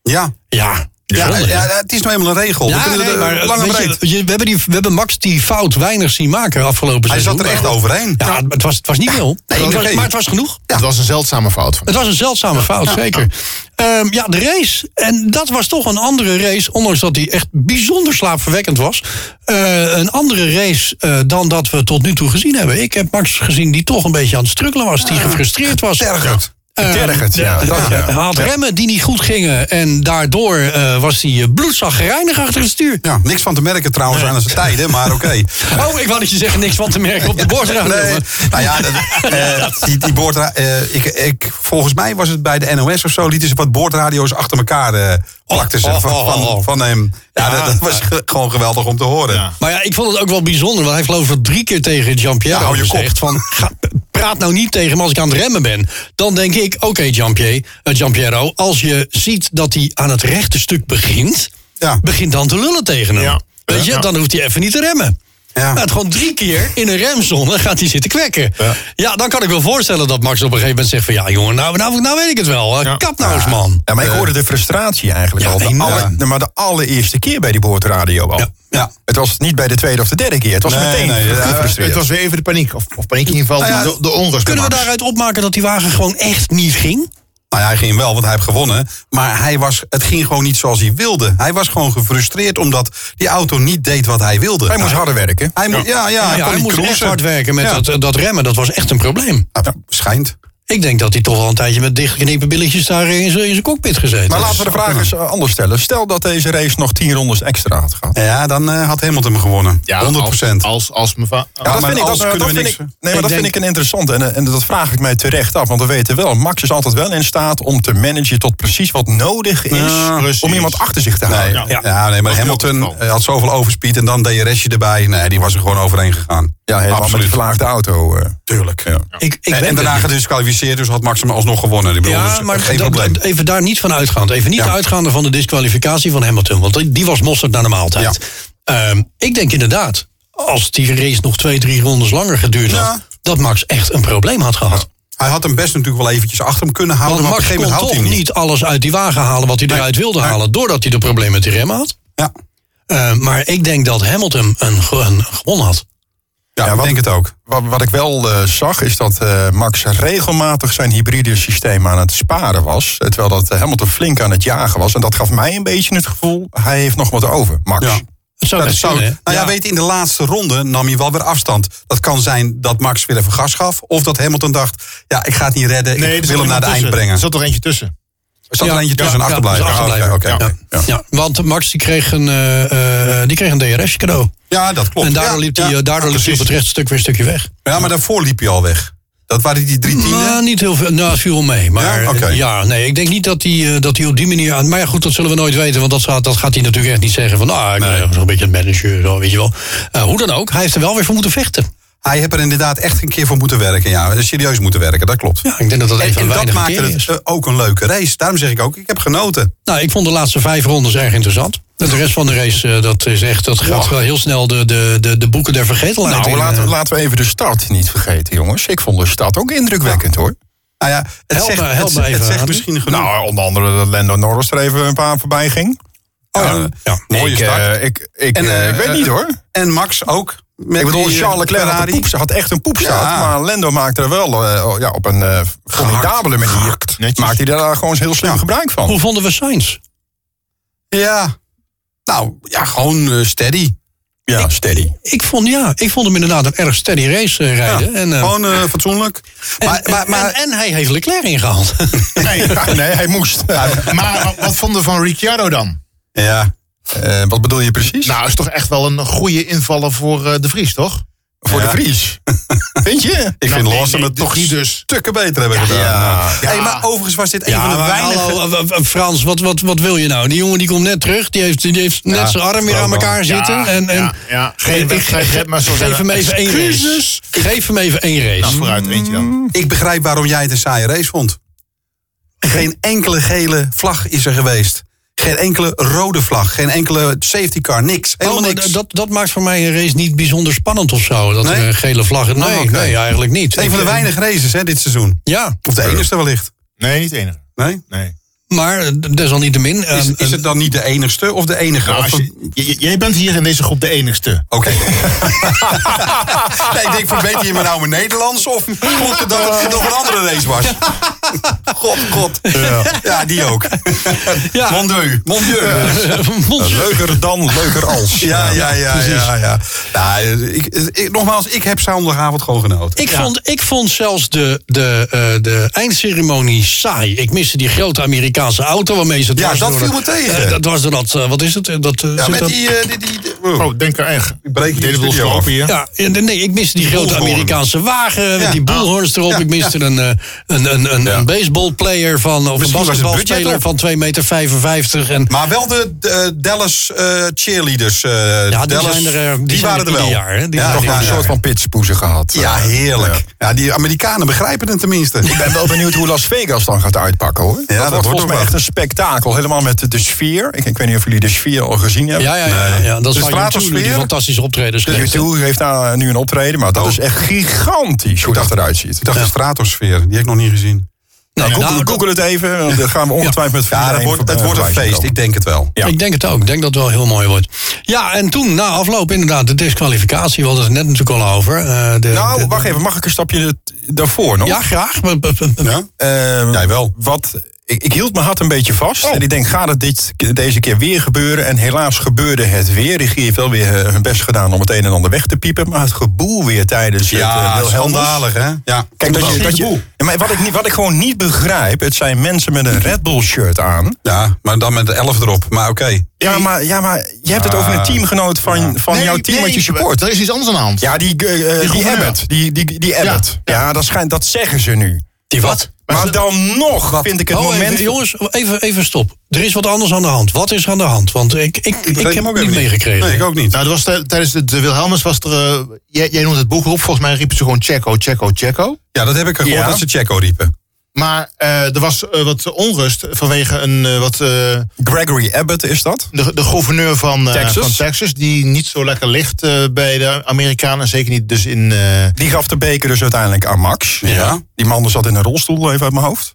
S2: Ja.
S1: Ja,
S2: Ja,
S1: zonde, hè?
S2: ja, het is nou eenmaal een regel. we
S1: Ja,
S2: kunnen
S1: nee,
S2: er
S1: maar, eh,
S2: lang en
S1: weet je,
S2: breed.
S1: je- we, hebben die, we hebben Max die fout weinig zien maken afgelopen
S2: Hij zat
S1: seizoen.
S2: er echt overheen.
S1: Ja, maar het was, het was niet veel.
S2: nee,
S1: Het was-
S2: oké.
S1: Maar het was genoeg.
S3: Het was een zeldzame fout. van
S1: Het was een zeldzame fout, zeker. Ehm, ja, de race. En dat was toch een andere race, ondanks dat die echt bijzonder slaapverwekkend was. Eh, een andere race eh, dan dat we tot nu toe gezien hebben. Ik heb Max gezien die toch een beetje aan het strukkelen was, die gefrustreerd was.
S2: Tergert.
S1: Eh,
S5: Tergend, ja.
S1: de-
S5: dat, ja.
S1: Hij had remmen die niet goed gingen en daardoor eh, was hij eh, bloedzagrijnig achter het stuur.
S2: Ja, niks van te merken trouwens aan zijn tijden, maar oké.
S1: Oh, ik wou dat je zeggen niks van te merken op de bordradio.
S2: Nee, nou ja, dat, eh, die, die boordra- eh, ik, ik, volgens mij was het bij de NOS of zo, lieten ze wat boordradio's achter elkaar eh plakten ze
S1: oh,
S2: van,
S1: oh, oh.
S2: van, van hem. Ja, dat, dat was ge- gewoon geweldig om te horen.
S3: Ja.
S1: Maar ja, ik vond het ook wel bijzonder. Want hij heeft geloof ik wel drie keer tegen Jean-Pierre
S2: Ja, hou je
S1: gezegd... van ga- praat nou niet tegen me als ik aan het remmen ben. Dan denk ik, oké Jean-Pierre, eh, Jean-Pierre, als je ziet dat hij aan het rechte stuk begint...
S2: Ja.
S1: begin dan te lullen tegen hem.
S3: Ja.
S1: Weet je,
S3: Ja.
S1: dan hoeft hij even niet te remmen.
S2: Ja.
S1: Nou, het gewoon drie keer in een remzone gaat hij zitten kwekken. Ja. dan kan ik wel voorstellen dat Max op een gegeven moment zegt van... ja jongen, nou, nou, nou weet ik het wel. Eh,
S3: Ja.
S1: Kap nou eens man.
S5: Ja, maar ik hoorde de frustratie eigenlijk
S1: Ja,
S5: al. De
S1: enorm.
S5: alle- de- maar de allereerste keer bij die boordradio al.
S2: Ja.
S5: Het was niet bij de tweede of de derde keer. Het was
S2: Nee,
S5: meteen
S2: nee, ja,
S5: gefrustreerd.
S3: Het was weer even de paniek. Of, of paniek in ieder geval,
S2: ja,
S3: de, de onrust.
S1: Kunnen we
S3: bij Max.
S1: daaruit opmaken dat die wagen gewoon echt niet ging?
S2: Nou ja, hij ging wel, want hij heeft gewonnen. Maar hij was, het ging gewoon niet zoals hij wilde. Hij was gewoon gefrustreerd omdat die auto niet deed wat hij wilde.
S5: Hij moest harder werken.
S2: Hij moest, ja, ja,
S1: Nou Ja,
S2: kon
S1: hij
S2: niet
S1: moest echt
S2: cruisen.
S1: hard werken met
S2: Ja.
S1: dat, dat remmen. Dat was echt een probleem.
S2: Ah, Schijnt.
S1: Ik denk dat hij toch wel een tijdje met dichtgeknepen billetjes daar in zijn- in zijn cockpit gezeten
S5: Maar
S1: is.
S5: laten we de vraag eens eh, anders stellen. Stel dat deze race nog 10 rondes extra had gehad.
S2: Ja, dan eh, had Hamilton hem gewonnen. 100
S3: Als, als, als mevrouw.
S2: Ja,
S5: dat
S2: maar
S5: vind ik, dat,
S2: anders kunnen
S5: dat
S2: we
S5: vind
S2: niks-
S5: ik, nee, maar
S1: Ik
S5: dat
S1: denk-
S5: vind ik een interessant. En, eh, en dat vraag ik mij terecht af. Want we weten wel, Max is altijd wel in staat om te managen tot precies wat nodig is.
S2: Ja,
S5: om iemand achter zich te houden.
S2: Ja, nee, maar
S3: Was
S2: Hamilton
S3: ook het geval.
S2: eh, had zoveel overspeed en dan DRS'je erbij. Nee, die was er gewoon overheen gegaan.
S5: Ja, helemaal met een verlaagde auto. eh.
S2: Tuurlijk.
S1: Ik, ik
S2: en,
S1: ben
S2: en daarna gedisqualificeerd, dus had Max hem alsnog gewonnen. Ik bedoel,
S1: Ja,
S2: dus
S1: maar
S2: geen
S1: dat-
S2: probleem.
S1: dat- even daar niet van uitgaand. Even niet
S2: Ja.
S1: uitgaande van de disqualificatie van Hamilton. Want die- die was mosterd naar de maaltijd. Ehm, ik denk inderdaad, als die race nog twee, drie rondes langer geduurd had...
S2: Ja.
S1: dat Max echt een probleem had gehad.
S2: Hij had hem best natuurlijk wel eventjes achter hem kunnen houden.
S1: Want
S2: maar op
S1: Max
S2: een
S1: kon
S2: gegeven moment
S1: toch
S2: houdt hij
S1: niet.
S2: hem niet.
S1: alles uit die wagen halen wat hij eruit wilde halen... doordat hij de problemen met die remmen had.
S2: Ja,
S1: Eh, maar ik denk dat Hamilton een, ge- een gewonnen had.
S2: ja, ik
S5: wat-
S2: denk het ook.
S5: Wat, wat ik wel eh, zag is dat eh, Max regelmatig zijn hybride systeem aan het sparen was. eh, Terwijl dat eh, Hamilton flink aan het jagen was. En dat gaf mij een beetje het gevoel, hij heeft nog wat over, Max.
S2: Ja.
S1: Het zou
S2: Dat
S1: best
S2: zou, nou
S1: kunnen, hè?
S2: ja, weet je, in de laatste ronde nam hij wel weer afstand. Dat kan zijn dat Max weer even gas gaf. Of dat Hamilton dacht, ja, ik ga het niet redden.
S3: Nee,
S2: ik
S3: er
S2: wil hem
S3: zat
S2: naar
S3: iemand
S2: de eind
S3: tussen.
S2: brengen.
S3: Er zat er eentje tussen.
S2: Er zat
S1: Ja,
S2: er eentje
S1: ja,
S2: tussen
S1: ja,
S2: en achterblijven.
S1: dus achterblijven.
S2: Ah, oké, oké,
S1: Ja.
S2: oké. Ja.
S1: Ja, want Max die kreeg een, eh, eh, die kreeg een DRS cadeau.
S2: Ja, dat klopt.
S1: en daardoor
S2: Ja,
S1: liep,
S2: ja,
S1: hij, eh, daardoor liep hij
S2: precies.
S1: op het rechtstuk weer een stukje weg.
S2: Ja, maar daarvoor liep hij al weg. Dat waren die drie tienen.
S1: Nou, niet heel veel. Nou, het viel wel mee. Maar eh,
S2: Ja?
S1: ja,
S2: Oké.
S1: nee, ik denk niet dat hij, eh, dat hij op die manier... aan- Maar ja, goed, dat zullen we nooit weten. Want dat, gaat- dat gaat hij "Ah, natuurlijk echt niet zeggen van... Nou, ik ben nog een beetje het manager, zo, weet je wel. Eh, hoe dan ook, hij heeft er wel weer voor moeten vechten.
S2: Hij heeft er inderdaad echt een keer voor moeten werken. Ja, serieus moeten werken, dat klopt.
S1: Ja, ik denk dat dat een
S2: en
S1: van
S2: en
S1: de
S2: dat
S1: weinige
S2: maakte
S1: keren
S2: het
S1: is.
S2: eh, ook een leuke race. Daarom zeg ik ook, ik heb genoten.
S1: Nou, ik vond de laatste vijf rondes erg interessant. De rest van de race, eh, dat is echt, dat gaat wel heel snel de, de, de, de boeken der vergetelheid
S5: Nou,
S1: in,
S5: laten,
S1: eh.
S5: we- laten we even de stad niet vergeten, jongens. Ik vond de stad ook indrukwekkend, hoor.
S2: Nou ja, het
S1: Help
S2: zegt,
S1: me- help
S2: het,
S1: me
S2: het
S1: even,
S2: zegt
S1: Adi.
S2: misschien genoeg.
S5: Nou, onder andere dat Lando Norris er even een paar voorbij ging.
S2: Oh,
S5: ja. Nee,
S2: mooie
S5: ik,
S2: start.
S5: eh, ik, ik,
S2: En,
S5: eh, ik
S2: eh,
S5: weet niet,
S2: eh,
S5: hoor.
S2: en Max ook. Met
S5: Ik bedoel,
S2: die, eh,
S5: Charles Leclerc had, een
S2: Ferrari.
S5: poepsta- had echt een poepstaat.
S2: Ja.
S5: Maar Lando maakte er wel eh, ja, op een eh, formidabele manier.
S3: Netjes.
S5: Maakt hij daar gewoon heel slim gebruik van.
S1: Hoe vonden we Sainz?
S2: Ja. Nou, ja, gewoon eh, steady.
S5: Ja, steady.
S1: Ik vond, ja, ik vond hem inderdaad een erg steady race eh,
S2: Ja,
S1: rijden. En, eh,
S2: gewoon eh, fatsoenlijk.
S1: en,
S2: maar, maar,
S1: en-
S2: maar,
S1: en, en hij heeft Leclerc ingehaald.
S5: Nee, nee hij moest.
S3: Maar wat- wat vonden we van Ricciardo dan?
S2: ja.
S5: Eh, wat bedoel je precies?
S3: Nou, is toch echt wel een goede invaller voor eh, de Vries, toch?
S5: voor
S2: ja.
S5: de Vries. Vind je?
S2: Ik
S3: Nou,
S2: vind
S3: nee,
S2: Lawson
S3: nee,
S2: het
S3: dus
S2: toch
S3: die dus.
S2: stukken beter hebben gedaan.
S5: Ja.
S2: Hey, maar overigens was dit een
S1: Ja,
S2: van de
S1: maar
S2: weinige...
S1: hallo, w- w- Frans, wat, wat, wat wil je nou? Die jongen die komt net terug, die heeft, die heeft net zijn arm weer aan
S2: wel.
S1: elkaar zitten. en, en,
S3: Ah, ja, ja. Geen
S1: Ik-
S3: wedstrijd, maar zo
S1: Geef hem even één race. Geef hem even één race.
S2: Nou,
S3: Vooruit, weet je dan.
S2: Ik begrijp waarom jij het een saaie race vond. Geen enkele gele vlag is er geweest. Geen enkele rode vlag. Geen enkele safety car. Niks. Helemaal
S1: Oh, maar
S2: niks.
S1: d- dat, dat maakt voor mij een race niet bijzonder spannend of zo. Dat
S2: Nee?
S1: er een gele vlag... Nee,
S2: Oh, oké.
S1: nee, eigenlijk niet.
S2: een van de
S1: Ik- eh,
S2: weinige races hè, dit seizoen.
S1: Ja,
S2: Of de enigste wellicht.
S3: Nee, niet enig.
S2: Nee?
S3: Nee.
S1: maar eh, desalniettemin... eh,
S2: Is, is het dan niet de enigste of de enige?
S3: Nou,
S2: Of
S3: als
S2: een-
S3: je- j- j- jij bent hier in deze groep de enigste.
S2: Oké. nee, ik denk, verbeter je me nou mijn Nederlands? Of klopt het dat het nog een andere race was? God, god. Ja, die ook.
S1: Ja.
S2: Mon Dieu. Mon Dieu.
S1: Monsieur-
S5: Leuker dan, leuker als.
S2: Ja, ja, ja, ja. ja. Nou, ik, ik- nogmaals, ik heb zaterdagavond gewoon genoten.
S1: Ik, vond, ik vond zelfs de, de, eh, de eindceremonie saai. Ik miste die grote Amerikaanse auto waarmee ze het
S2: Ja,
S1: dwars
S2: dat
S1: door
S2: viel
S1: de-
S2: me tegen.
S1: Eh, dat was door dat, eh, wat is het? Eh, Dat, eh,
S2: ja,
S1: zit
S2: met
S1: dat-
S2: die... eh, die, die, die- oh.
S3: Oh, denk er echt. Ik
S2: breek hier de
S3: wil
S2: studio af.
S3: slopen hier.
S1: Ja, en- en nee, ik miste die grote
S2: boelhoorn.
S1: Amerikaanse wagen met
S2: Ja.
S1: die boelhorns erop.
S2: Ja,
S1: Ik miste een, eh, een, een, een, een baseballplayer van, of
S2: Misschien
S1: een
S2: was het
S1: basketbalspeler
S2: budget
S1: van 2,55 meter. En,
S2: Maar wel de eh, Dallas eh, cheerleaders. eh,
S1: ja, die,
S2: Dallas,
S1: zijn er, eh, die,
S2: die
S1: zijn
S2: waren er
S1: ieder
S2: wel.
S1: Jaar, hè? Die
S2: Ja,
S1: waren er
S2: toch wel
S5: een
S1: ieder
S5: soort
S1: jaar.
S5: van pitspoezen gehad.
S2: Ja, heerlijk. Ja, die Amerikanen begrijpen het tenminste.
S5: Ik ben wel benieuwd hoe Las Vegas dan gaat uitpakken hoor.
S2: dat
S5: dat,
S2: wordt
S5: wordt volgens mij
S2: ook
S5: echt
S2: wel.
S5: een spektakel. Helemaal met de, de sfeer. Ik, ik weet niet of jullie de sfeer al gezien hebben.
S1: Ja, ja, ja, ja, ja. Dat
S5: De
S1: is waar YouTube die
S5: stratosfeer.
S1: fantastische optredens
S5: De
S1: geeft.
S5: YouTube heeft daar eh, nu een optreden, maar dat is echt gigantisch hoe dat eruit ziet.
S2: Oh. Ik dacht de stratosfeer, die heb ik nog niet gezien.
S1: Nou,
S5: Google,
S1: nou,
S5: Google het even, want dan gaan we ongetwijfeld met
S2: Ah, Ja, dat
S5: Formule 1
S2: wordt, het
S5: voorbij
S2: wordt een
S5: voorbij
S2: feest,
S5: komen.
S2: ik denk eh, het wel.
S5: Ja.
S1: Ik denk het ook. Ik denk dat het wel heel mooi wordt. Ja, en toen, na afloop, inderdaad, de disqualificatie. We hadden het net natuurlijk al over. eh, de- de-
S5: Nou,
S1: de-
S5: wacht even, mag ik een stapje het- daarvoor nog?
S1: Ja, graag. Maar- maar- maar-
S5: Ja?
S2: Jij wel.
S5: Ehm,
S2: Oh.
S5: Wat, ik, ik hield mijn hart een beetje vast. En ik denk, gaat het dit, deze keer weer gebeuren? En helaas gebeurde het weer. Regie heeft wel weer eh, hun best gedaan om het een en ander weg te piepen. Maar het geboel weer tijdens het eh,
S2: heel
S5: Wilhelmus.
S2: schandalig, hè? Ja,
S5: Kijk, dat je, dat je, Ja, maar wat, ik niet, wat ik gewoon niet begrijp, het zijn mensen met een Red Bull shirt aan.
S2: Ja, maar dan met de 11 erop. Maar oké. Ah.
S5: Ja, maar, ja, maar je hebt het over een teamgenoot van, van jouw team wat je support.
S3: Er is iets anders aan de hand.
S5: Ja, die, eh, eh, die
S3: gouverneur.
S5: Abbott. Die, die, die Abbott. Ja, dat, schijnt, dat zeggen ze nu.
S1: Die wat?
S5: Maar, dan nog vind ik het
S1: Oh,
S5: moment...
S1: even, jongens, even, even stop. Er is wat anders aan de hand. Wat is er aan de hand? Want ik, ik, ik,
S2: weet
S1: heb
S2: hem ook
S1: het
S2: even
S1: niet
S2: niet.
S1: meegekregen.
S2: Nee, ik ook niet.
S3: Nou, er was tij- tijdens de, de Wilhelmus was er... eh, jij, jij noemt het boekroep. Volgens mij riepen ze gewoon Checo, Checo, Checo.
S2: Ja, dat heb ik gehoord
S5: Ja.
S2: dat ze Checo riepen.
S3: Maar eh, er was eh, wat onrust vanwege een eh, wat... eh,
S5: Gregory Abbott is dat.
S3: de, de gouverneur van, eh,
S5: Texas.
S3: van Texas, die niet zo lekker ligt eh, bij de Amerikanen. Zeker niet dus in... eh,
S5: Die gaf de beker dus uiteindelijk aan Max.
S2: Ja.
S5: Die man zat in een rolstoel, even uit mijn hoofd.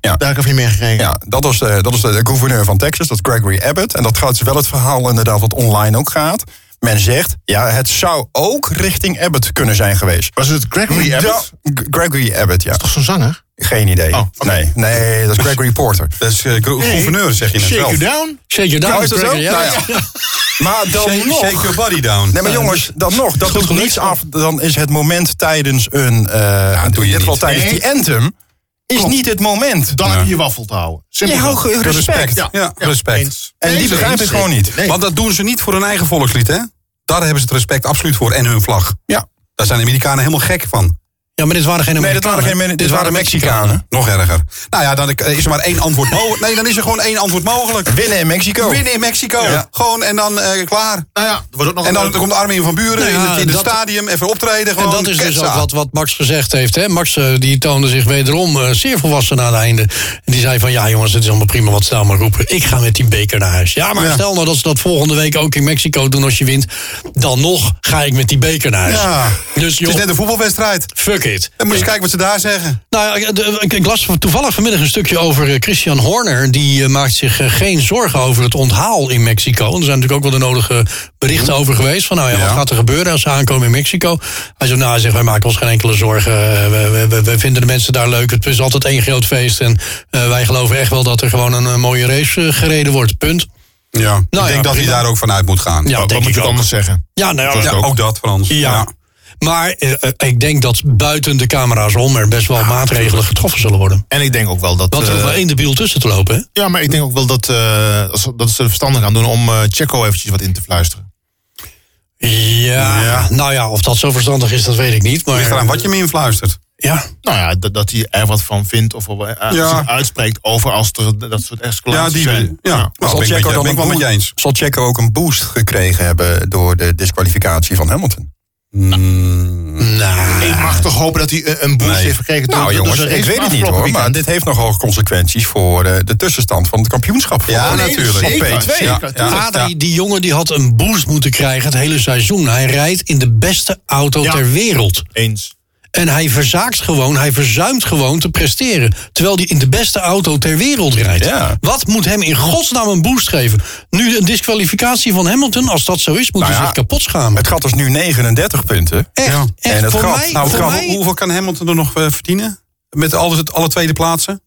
S3: Daar heb ik niet meer gekregen.
S5: Ja, dat was, de, dat was de, de gouverneur van Texas, dat is Gregory Abbott. En dat gaat dus wel het verhaal inderdaad wat online ook gaat. Men zegt, ja, het zou ook richting Abbott kunnen zijn geweest.
S3: Was het Gregory Abbott?
S5: Mm, Ja, G- Gregory Abbott, ja.
S3: Toch zo'n zanger?
S5: Geen idee.
S3: Oh, oké.
S5: nee, nee, dat is Gregory Porter.
S2: Dus- Dat is eh, gro- gouverneur, zeg je net
S3: Shake
S2: zelf. Oh,
S3: You Down?
S1: Shake your down,
S5: is dat zo?
S1: Gregor, ja.
S5: Nou ja. Maar dan
S2: Shake,
S5: nog...
S2: shake your body down. dus-
S5: Nee, maar jongens, dan nog, dat doet
S1: gelukt,
S5: niets
S1: hoor.
S5: af. Dan is het moment tijdens een... eh
S2: doe je
S5: in dit geval
S2: niet.
S5: tijdens
S3: Nee.
S5: die anthem... Is
S3: Klopt.
S5: niet het moment.
S3: Dan heb je je waffel te houden. Simpel.
S5: Ja,
S3: dat.
S5: ook respect.
S2: Ja,
S5: Ja.
S2: respect.
S3: Eens.
S5: En die
S3: Eens,
S5: begrijp ik
S3: eens.
S5: gewoon niet.
S3: Nee.
S2: Want dat doen ze niet voor hun eigen volkslied, hè? Daar hebben ze het respect absoluut voor en hun vlag.
S5: Ja.
S2: Daar zijn de Amerikanen helemaal gek van.
S1: Ja, maar dit waren geen
S5: Nee, dat waren geen
S1: Amerikanen.
S5: Men- dit waren Mexicanen.
S2: Nog erger. Nou ja, dan eh, is er maar één antwoord mogelijk. Nee, dan is er gewoon één antwoord mogelijk.
S5: Winnen in Mexico.
S2: Winnen in Mexico.
S5: Ja. Oh,
S2: Gewoon en dan eh, klaar.
S3: Nou ja, er wordt ook nog
S2: En
S3: een
S2: dan komt Armin van Buren
S1: Nou
S2: in
S1: ja,
S2: het, in het
S1: dat-
S2: stadium, even optreden.
S1: En
S2: Gewoon
S1: dat is dus
S2: ketsa.
S1: ook wat, wat Max gezegd heeft. Hè? Max eh, die toonde zich wederom eh, zeer volwassen aan het einde. En die zei van, ja jongens, het is allemaal prima wat ze allemaal roepen. Ik ga met die beker naar huis. Ja, maar
S2: Ja.
S1: stel nou dat ze dat volgende week ook in Mexico doen als je wint. Dan nog ga ik met die beker naar huis.
S2: Ja.
S1: Dus
S2: Het
S1: joh,
S2: is net een voetbalwedstrijd.
S1: fuck it.
S2: Dan moet je eens kijken wat ze daar zeggen.
S1: Nou, ja, de- ik, ik las toevallig vanmiddag een stukje over eh, Christian Horner. Die eh, maakt zich eh, geen zorgen over het onthaal in Mexico. Er zijn natuurlijk ook wel de nodige berichten over geweest. Van nou ja, wat
S2: Ja.
S1: gaat er gebeuren als ze aankomen in Mexico? Hij zegt, nou, hij zegt, wij maken ons geen enkele zorgen. Eh, We, we- we, we vinden de mensen daar leuk. Het is altijd één groot feest. En eh, wij geloven echt wel dat er gewoon een eh, mooie race eh, gereden wordt. Punt.
S2: Ja.
S5: Nou
S2: ik
S1: ja,
S2: denk dat hij
S1: prima.
S2: daar ook vanuit moet gaan.
S1: Ja,
S2: Ook-
S1: denk
S3: wat moet
S1: ik
S3: je
S1: ook.
S3: anders zeggen?
S1: Ja, nou
S2: ja,
S1: ja,
S2: ook dat van ons.
S1: Ja. Maar eh, eh, ik denk dat buiten de camera's om er best wel maatregelen getroffen zullen worden.
S3: En ik denk ook wel dat...
S1: Want er
S3: eh,
S1: hoeft maar één debiel tussen te lopen, hè?
S3: ja, maar ik denk ook wel dat, eh, als- dat ze er verstandig aan doen om eh Checo eventjes wat in te fluisteren.
S1: Ja, nou ja, of dat zo verstandig is, dat weet ik niet. Maar
S2: Ligt eraan wat je me influistert.
S1: ja.
S3: Nou ja, dat, dat hij er wat van vindt of er, eh,
S2: Ja.
S3: zich uitspreekt over als er dat soort
S2: Ja,
S3: escalaties
S2: die
S3: zijn.
S2: ben Ja,
S5: Maar
S2: Nou,
S5: zal
S2: ben ik met
S5: Checo
S2: je-
S5: dan
S2: ben ik
S5: ook
S2: wel met je
S5: goed-
S2: eens.
S5: Zal Checo ook een boost gekregen hebben door de disqualificatie van Hamilton?
S1: Nou,
S3: Ik mag toch hopen dat hij een- een boost heeft gekregen door
S5: Nou
S3: door
S5: jongens,
S3: zijn
S5: ik
S3: race
S5: weet het niet
S3: Dus afgelopen
S5: hoor,
S3: weekend.
S5: maar dit heeft nogal consequenties voor eh, de tussenstand van het kampioenschap.
S2: Ja,
S5: Volgende-
S2: natuurlijk.
S5: Op
S3: zeker,
S5: P2.
S3: zeker.
S5: Ja, ja.
S1: Adrie, die jongen die had een boost moeten krijgen het hele seizoen. Hij rijdt in de beste auto
S3: Ja.
S1: ter wereld.
S3: Eens.
S1: En hij verzaakt gewoon, hij verzuimt gewoon te presteren. Terwijl hij in de beste auto ter wereld rijdt.
S5: Ja.
S1: Wat moet hem in godsnaam een boost geven? Nu een disqualificatie van Hamilton, als dat zo is, moet
S2: Nou
S1: hij
S5: ja,
S1: zich kapot schamen.
S5: Het gat is nu 39 punten.
S1: Echt,
S2: ja.
S1: echt,
S5: En het
S1: voor
S5: gat-
S1: mij,
S2: Nou,
S1: voor
S2: kan-
S1: mij
S2: hoeveel kan Hamilton er nog eh, verdienen? Met alle, alle tweede plaatsen?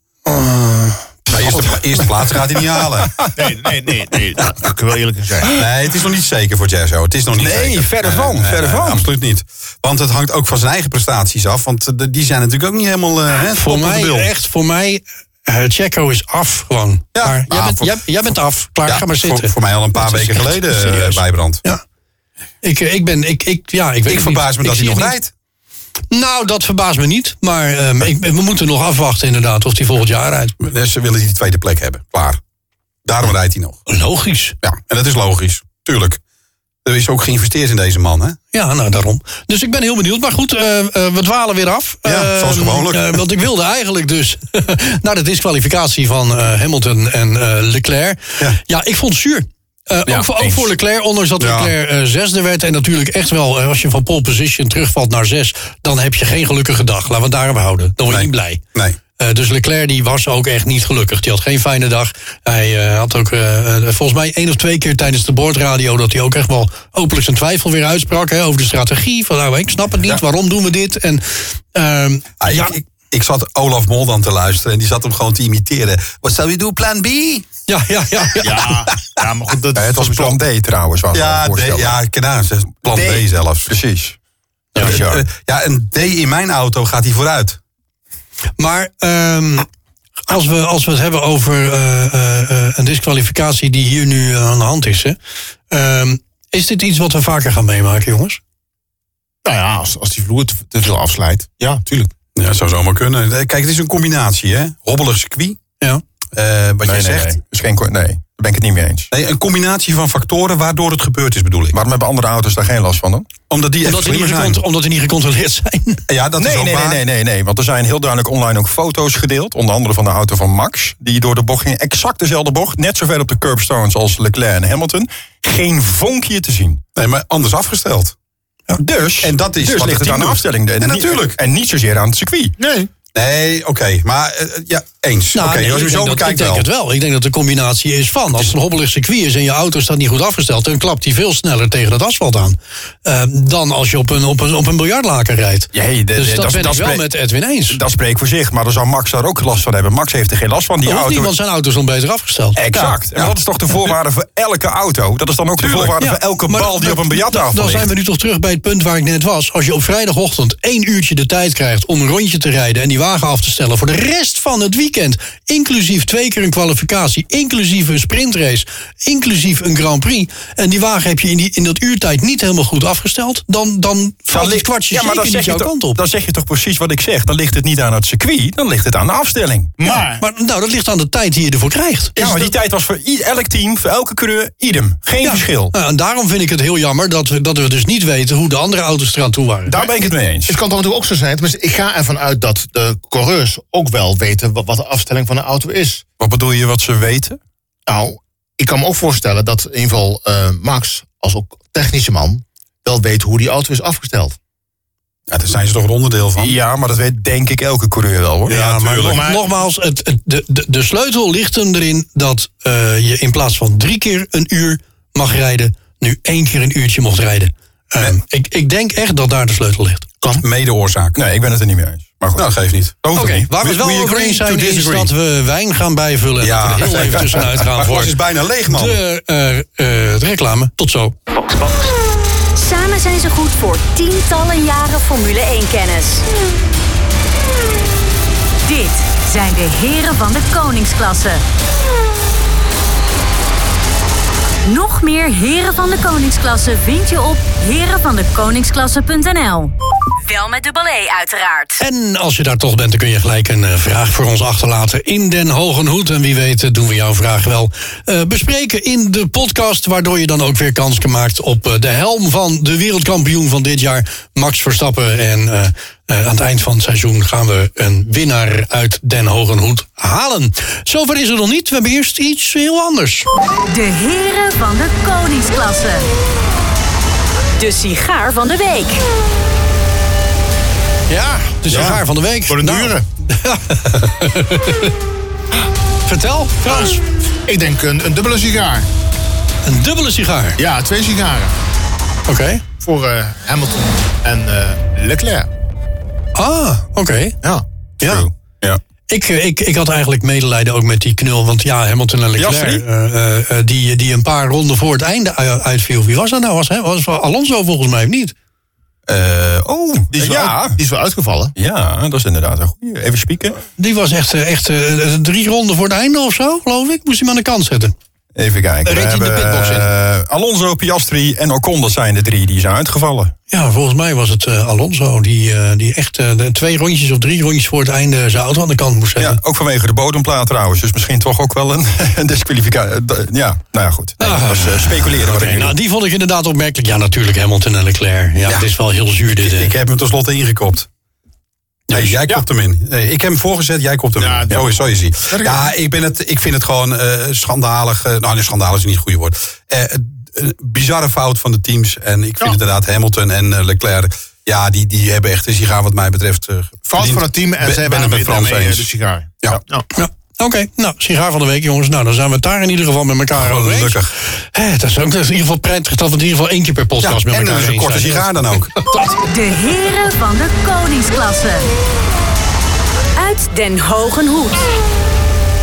S2: Nou, eerste, eerste plaats gaat hij niet halen.
S3: Nee, nee, nee. nee. Nou, ik wil eerlijk in zijn.
S2: Nee, het is nog niet zeker voor Jazzo. Het is nog niet
S5: Nee,
S2: zeker.
S5: verder van, verder van.
S2: absoluut niet. Want het hangt ook van zijn eigen prestaties af. Want eh, de- die zijn natuurlijk ook niet helemaal eh, hè, top
S1: Voor
S2: of the bill.
S1: mij, echt, voor mij, eh, Checo is af gewoon.
S2: Ja,
S1: Maar jij,
S2: nou,
S1: bent,
S2: voor-
S1: jij, jij bent af, klaar,
S2: Ja,
S1: ga maar zitten.
S2: Voor, voor mij al een paar
S1: Dat is
S2: weken
S1: echt
S2: geleden eh,
S1: serieus.
S2: bijbrand.
S1: Ja. Ik, eh, ik ben, ik, ik, ja, ik weet het
S2: Ik
S1: niet.
S2: verbaas me dat
S1: zie
S2: hij nog
S1: het niet.
S2: rijdt.
S1: Nou, dat verbaast me niet. Maar ehm, ik, we moeten nog afwachten inderdaad of hij volgend jaar rijdt.
S2: Dus ze willen die tweede plek hebben. Klaar. Daarom rijdt hij nog.
S1: Logisch.
S2: Ja, en dat is logisch. Tuurlijk. Er is ook geïnvesteerd in deze man, hè?
S1: Ja, nou daarom. Dus ik ben heel benieuwd. Maar goed, eh, eh, we dwalen weer af.
S2: Ja,
S1: Eh,
S2: zoals gewoonlijk.
S1: eh, want ik wilde eigenlijk dus naar de disqualificatie van eh, Hamilton en eh, Leclerc. Ja.
S2: Ja.
S1: ik vond het zuur. Eh,
S2: Ja,
S1: ook, voor, ook
S2: eens.
S1: voor Leclerc, ondanks dat
S2: Ja.
S1: Leclerc eh, zesde werd. En natuurlijk echt wel, eh, als je van pole position terugvalt naar zes... dan heb je geen gelukkige dag. Laten we het daarop houden. Dan word je
S2: Nee.
S1: niet blij.
S2: Nee.
S1: Eh, dus Leclerc die was ook echt niet gelukkig. Die had geen fijne dag. Hij eh, had ook eh, eh, volgens mij één of twee keer tijdens de boordradio... dat hij ook echt wel openlijk zijn twijfel weer uitsprak... Hè, over de strategie. Van nou, ik snap het niet,
S2: Ja.
S1: waarom doen we dit? En ehm,
S2: Ah, ik,
S1: ja,
S2: ik, ik zat Olaf Mol dan te luisteren en die zat hem gewoon te imiteren. Wat zou je doen, plan B? Eh,
S1: ja, ja, ja, ja.
S3: Ja, ja, maar goed, dat
S5: Eh,
S3: is
S5: het was
S3: sowieso-
S5: plan D trouwens. Was
S2: Ja,
S5: het
S2: D,
S5: voorstel.
S2: ja, kanaal, plan D,
S5: D.
S2: zelfs.
S5: Precies.
S2: Ja,
S5: Ja.
S2: eh, ja, een D in mijn auto gaat hij vooruit.
S1: Maar ehm, als, we, als we het hebben over eh, eh, eh, een disqualificatie... die hier nu eh, aan de hand is... Hè, ehm, is dit iets wat we vaker gaan meemaken, jongens?
S3: Nou ja, als, als die vloer te, te veel afslijt. Ja, tuurlijk.
S2: Ja, zou zomaar kunnen. Eh, Kijk, het is een combinatie, hè? Hobbelig circuit,
S1: Ja.
S2: eh, wat
S5: Nee,
S2: jij
S5: nee,
S2: zegt.
S5: nee. Is geen, ko- nee, daar ben ik het niet mee eens.
S2: Nee, een combinatie van factoren waardoor het gebeurd is, bedoel ik.
S5: Waarom hebben andere auto's daar geen last van dan?
S2: Omdat die
S1: Omdat
S2: echt
S1: die niet,
S2: slimmer zijn.
S1: gecont- omdat die niet gecontroleerd zijn.
S2: Ja, dat is
S5: Nee,
S2: ook
S5: nee, nee,
S2: waar.
S5: nee, nee, nee. Want er zijn heel duidelijk online ook foto's gedeeld. Onder andere van de auto van Max. Die door de bocht ging. Exact dezelfde bocht. Net zoveel op de curbstones als Leclerc en Hamilton. Geen vonkje te zien.
S2: Nee, maar anders afgesteld.
S5: Dus,
S2: En dat is
S5: dus
S2: wat
S5: ligt
S2: het
S5: het
S2: team
S5: aan de
S2: doet.
S5: afstelling. En
S2: Ja,
S5: niet-
S2: natuurlijk.
S5: En niet zozeer aan het circuit.
S3: Nee.
S2: Nee, oké. maar eh, eh, ja, eens.
S1: Nou,
S2: oké,
S1: nee,
S2: als je
S1: ik
S2: zo
S1: denk dat-
S2: bekijkt
S1: Ik
S2: wel.
S1: denk het wel. Ik denk dat de combinatie is van. Als het een hobbelig circuit is en je auto staat niet goed afgesteld... dan klapt die veel sneller tegen het asfalt aan. eh, dan als je op een, op een, op een biljartlaken rijdt.
S5: Ja, hey, de-
S1: dus
S5: de-
S1: dat
S5: dat-
S1: ben
S5: dat
S1: ik wel
S5: spreekt-
S1: met Edwin eens.
S5: Dat spreekt voor zich. Maar dan zou Max daar ook last van hebben. Max heeft er geen last van. Die
S1: Die hoeft
S5: auto.
S1: niet, want zijn auto is dan beter afgesteld.
S5: Exact. En dat is toch de voorwaarde voor elke auto? Dat is dan ook de voorwaarde
S1: Ja,
S5: voor elke
S1: maar
S5: bal die
S1: dat-
S5: op een
S1: dat-
S5: biljarttafel
S1: Dan zijn
S5: ligt.
S1: we nu toch terug bij het punt waar ik net was. Als je op vrijdagochtend één uurtje de tijd krijgt om een rondje te rijden... en die Wagen af te stellen voor de rest van het weekend. Inclusief twee keer een kwalificatie, inclusief een sprintrace, inclusief een Grand Prix. En die wagen heb je in, die, in dat uurtijd niet helemaal goed afgesteld. Dan, dan valt het kwartje
S5: ja, maar
S1: zeker
S5: dan
S1: niet
S5: zeg, je
S1: jouw
S5: toch-
S1: kant op.
S5: dan zeg je toch precies wat ik zeg. Dan ligt het niet aan het circuit, dan ligt het aan de afstelling.
S3: Maar,
S1: Maar nou, dat ligt aan de tijd die je ervoor krijgt. Is
S5: Ja, maar
S1: dat-
S5: die tijd was voor i- elk team, voor elke coureur, idem. Geen
S1: Ja.
S5: verschil.
S1: Nou, en daarom vind ik het heel jammer dat we, dat we dus niet weten hoe de andere auto's eraan toe waren.
S5: Daar ben ik het mee eens.
S3: het kan toch natuurlijk ook zo zijn. Tenminste, ik ga ervan uit dat de coureurs ook wel weten wat, wat de afstelling van een auto is.
S5: Wat bedoel je wat ze weten?
S3: Nou, ik kan me ook voorstellen dat in ieder geval eh, Max, als ook technische man, wel weet hoe die auto is afgesteld.
S2: Ja, daar zijn ze toch een onderdeel van.
S5: Ja, maar dat weet denk ik elke coureur wel hoor.
S2: Ja, maar
S1: Nog-
S2: tuurlijk.
S1: nogmaals, het, het- de, de, de sleutel ligt hem erin dat eh, je in plaats van drie keer een uur mag rijden, nu één keer een uurtje mocht rijden. Ehm, ik, ik denk echt dat daar de sleutel ligt.
S2: Mede oorzaak.
S5: Nee, ik ben het er niet mee eens. Maar goed.
S2: Nou, dat geeft niet.
S5: Dat hoeft ook niet.
S1: Waar we het wel over
S5: agree
S1: eens zijn
S5: to
S1: is
S5: disagree.
S1: dat we wijn gaan bijvullen.
S2: Ja.
S1: En dat we er heel even tussenuit gaan
S2: Maar
S1: voor
S2: het is bijna leeg, man.
S1: de, eh, eh, de reclame. Tot zo.
S4: Samen zijn ze goed voor tientallen jaren Formule 1-kennis. Dit zijn de heren van de koningsklasse. Nog meer heren van de koningsklasse vind je op herenvandekoningsklasse.nl. Wel met dubbel E uiteraard.
S1: En als je daar toch bent, dan kun je gelijk een eh, vraag voor ons achterlaten in Den Hogenhoed. En wie weet eh, doen we jouw vraag wel eh, bespreken in de podcast. Waardoor je dan ook weer kans gemaakt op eh, de helm van de wereldkampioen van dit jaar, Max Verstappen. En eh, eh, aan het eind van het seizoen gaan we een winnaar uit Den Hogenhoed halen. Zover is het nog niet. We hebben eerst iets heel anders.
S4: De heren van de koningsklasse. De sigaar van de week.
S1: Ja, de sigaar van de week.
S3: Voor de
S1: Nou,
S3: dure.
S1: Vertel, Frans.
S3: Ik denk een, een dubbele sigaar.
S1: Een dubbele sigaar.
S3: Ja, twee sigaren.
S1: Oké.
S3: Voor eh, Hamilton en eh, Leclerc.
S1: Ah, oké.
S3: Ja.
S1: Ja.
S5: Ja.
S1: Ik, eh, ik, ik had eigenlijk medelijden ook met die knul. Want ja, Hamilton en Leclerc,
S5: Piastri?
S1: eh, eh, eh, die, die een paar ronden voor het einde u- uitviel. Wie was dat nou? Was, hè? was Alonso volgens mij of niet?
S5: Eh, oh,
S3: Die is, wel,
S5: ja.
S3: die is wel uitgevallen.
S5: Ja, dat is inderdaad een goeie. Even spieken.
S1: Die was echt, eh, echt eh, drie ronden voor het einde of zo, geloof ik. Moest hij hem aan de kant zetten.
S5: Even kijken.
S1: Daar
S5: We
S1: reed hij in de
S5: hebben,
S1: pitbox in.
S5: eh, Alonso, Piastri en Ocon, dat zijn de drie die zijn uitgevallen.
S1: Ja, volgens mij was het eh, Alonso die, eh, die echt eh, de twee rondjes of drie rondjes voor het einde zijn auto aan de kant moest zetten.
S5: Ja, ook vanwege de bodemplaat trouwens. Dus misschien toch ook wel een, een disqualificatie. Ja, nou ja, goed. Nee, dat is eh, speculeren wat ik
S1: Ah. Oké,
S5: nu
S1: nou,
S5: doe.
S1: die vond ik inderdaad opmerkelijk. Ja, natuurlijk Hamilton en Leclerc. Ja, het is wel heel zuur dit. eh.
S2: Ik heb hem tenslotte ingekopt. Nee, jij kopt hem in. Nee, ik heb hem voorgezet, jij kopt hem
S3: Ja,
S2: in.
S3: dat-
S2: Zo is, zo is hij.
S3: ik-
S2: Ja, ik, ben het, ik vind het gewoon eh, schandalig. eh, nou, nee, schandalig is niet het goede woord. Eh, een bizarre fout van de teams. En ik vind inderdaad Hamilton en eh, Leclerc... Ja, die, die hebben echt een sigaar wat mij betreft... eh,
S3: Fout
S2: verdiend.
S3: van het team en
S2: Ben-
S3: zij
S2: ben het
S3: waren
S2: met
S3: weer
S2: Frans
S3: daarmee, eh,
S2: eens.
S3: de sigaar.
S2: Ja.
S1: Ja. Oké, nou, sigaar van de week, jongens. Nou, dan zijn we het daar in ieder geval met elkaar
S5: Oh,
S1: over eens.
S2: Gelukkig.
S1: Hè, dat is ook dat is in ieder geval prettig dat we het in ieder geval één keer per
S2: Ja,
S1: podcast met
S2: en
S1: elkaar
S2: dat is
S1: eens
S2: een korte
S1: zijn.
S2: sigaar dan ook.
S4: De heren van de koningsklasse. Uit Den Hogen Hoed.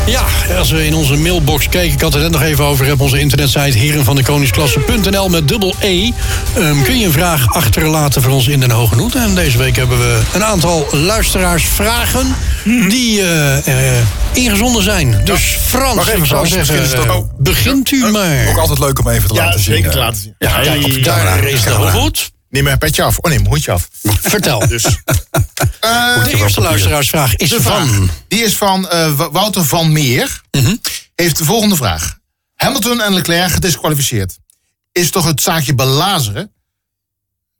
S1: Ja, als we in onze mailbox kijken, ik had het net nog even over, heb onze internetsite herenvandekoningsklasse.nl met dubbel E. Ehm, kun je een vraag achterlaten voor ons in Den Hoge Hoed. En deze week hebben we een aantal luisteraarsvragen die eh, eh, ingezonden zijn. Dus Frans,
S5: Wacht even,
S1: ik zou
S5: Frans,
S1: zeggen,
S5: misschien is het
S1: eh,
S5: ook-
S1: begint u
S5: Ook
S1: maar.
S5: altijd leuk om even te laten zien. eh.
S3: zien.
S1: Ja, kijk, daar is de hooghoed.
S3: Neem mijn petje af. Oh nee, mijn hoedje af.
S1: Vertel.
S3: Dus. Eh,
S1: De eerste luisteraarsvraag is
S3: de vraag.
S1: van...
S3: Die is van eh, W- Wouter van Meer. Heeft de volgende vraag. Hamilton en Leclerc gedisqualificeerd. Is toch het zaakje belazeren?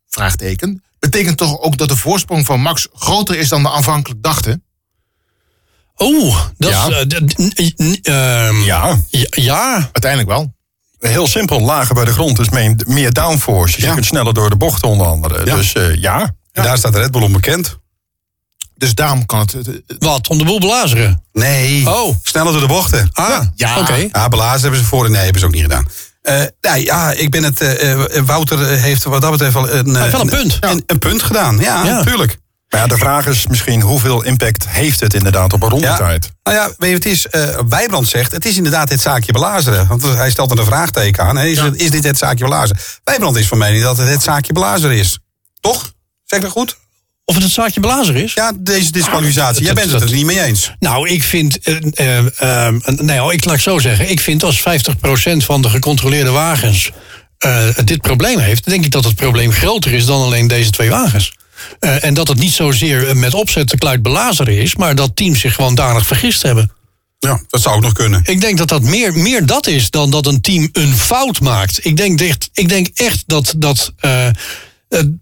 S3: Vraagteken. Betekent toch ook dat de voorsprong van Max groter is dan we aanvankelijk dachten?
S1: Oeh, dat
S5: Ja.
S1: is... eh, d- n- n- ehm,
S5: Ja,
S1: ja, ja,
S3: Uiteindelijk wel.
S5: heel simpel. Lager bij de grond is meer- meer downforce. Dus je kunt sneller door de bochten onder andere. Dus eh, ja.
S2: En daar staat Red Bull onbekend.
S3: Dus daarom kan het... het- het-
S1: wat? Om de boel blazeren?
S2: Nee.
S1: Oh.
S2: Sneller door de bochten.
S1: Ah,
S3: ja.
S1: oké.
S2: Ja, belazen hebben ze voor. Nee, hebben ze ook niet gedaan. Eh nou ja, ik ben het. eh, eh, Wouter eh, heeft wat dat betreft wel een, eh,
S1: wel een punt.
S2: Een, een punt gedaan. Ja,
S1: Ja.
S2: natuurlijk.
S5: Maar ja, de vraag is misschien hoeveel impact heeft het inderdaad op een
S2: Ja.
S5: rondetijd?
S2: Nou ja, weet je, het is. eh Wijbrand zegt. Het is inderdaad het zaakje belazeren. Want hij stelt er een vraagteken aan. hè. Is, het- is dit het zaakje belazeren? Wijbrand is van mening dat het het zaakje belazeren is. Toch? Zeg ik dat goed?
S1: Of het een zaakje blazer is?
S2: Ja, deze disqualificatie. Jij
S1: Dat-
S2: bent het
S1: dat-
S2: er niet mee eens.
S1: Nou, ik vind. eh eh, eh, nee, hoor, ik laat ik zo zeggen. Ik vind als 50% van de gecontroleerde wagens eh, dit probleem heeft, denk ik dat het probleem groter is dan alleen deze twee wagens. Eh, en dat het niet zozeer eh, met opzet te kluit belazeren is, maar dat teams zich gewoon danig vergist hebben.
S2: Ja, dat zou ook nog kunnen.
S1: Ik denk dat dat meer, meer dat is dan dat een team een fout maakt. Ik denk echt, ik denk echt dat, dat, eh, eh,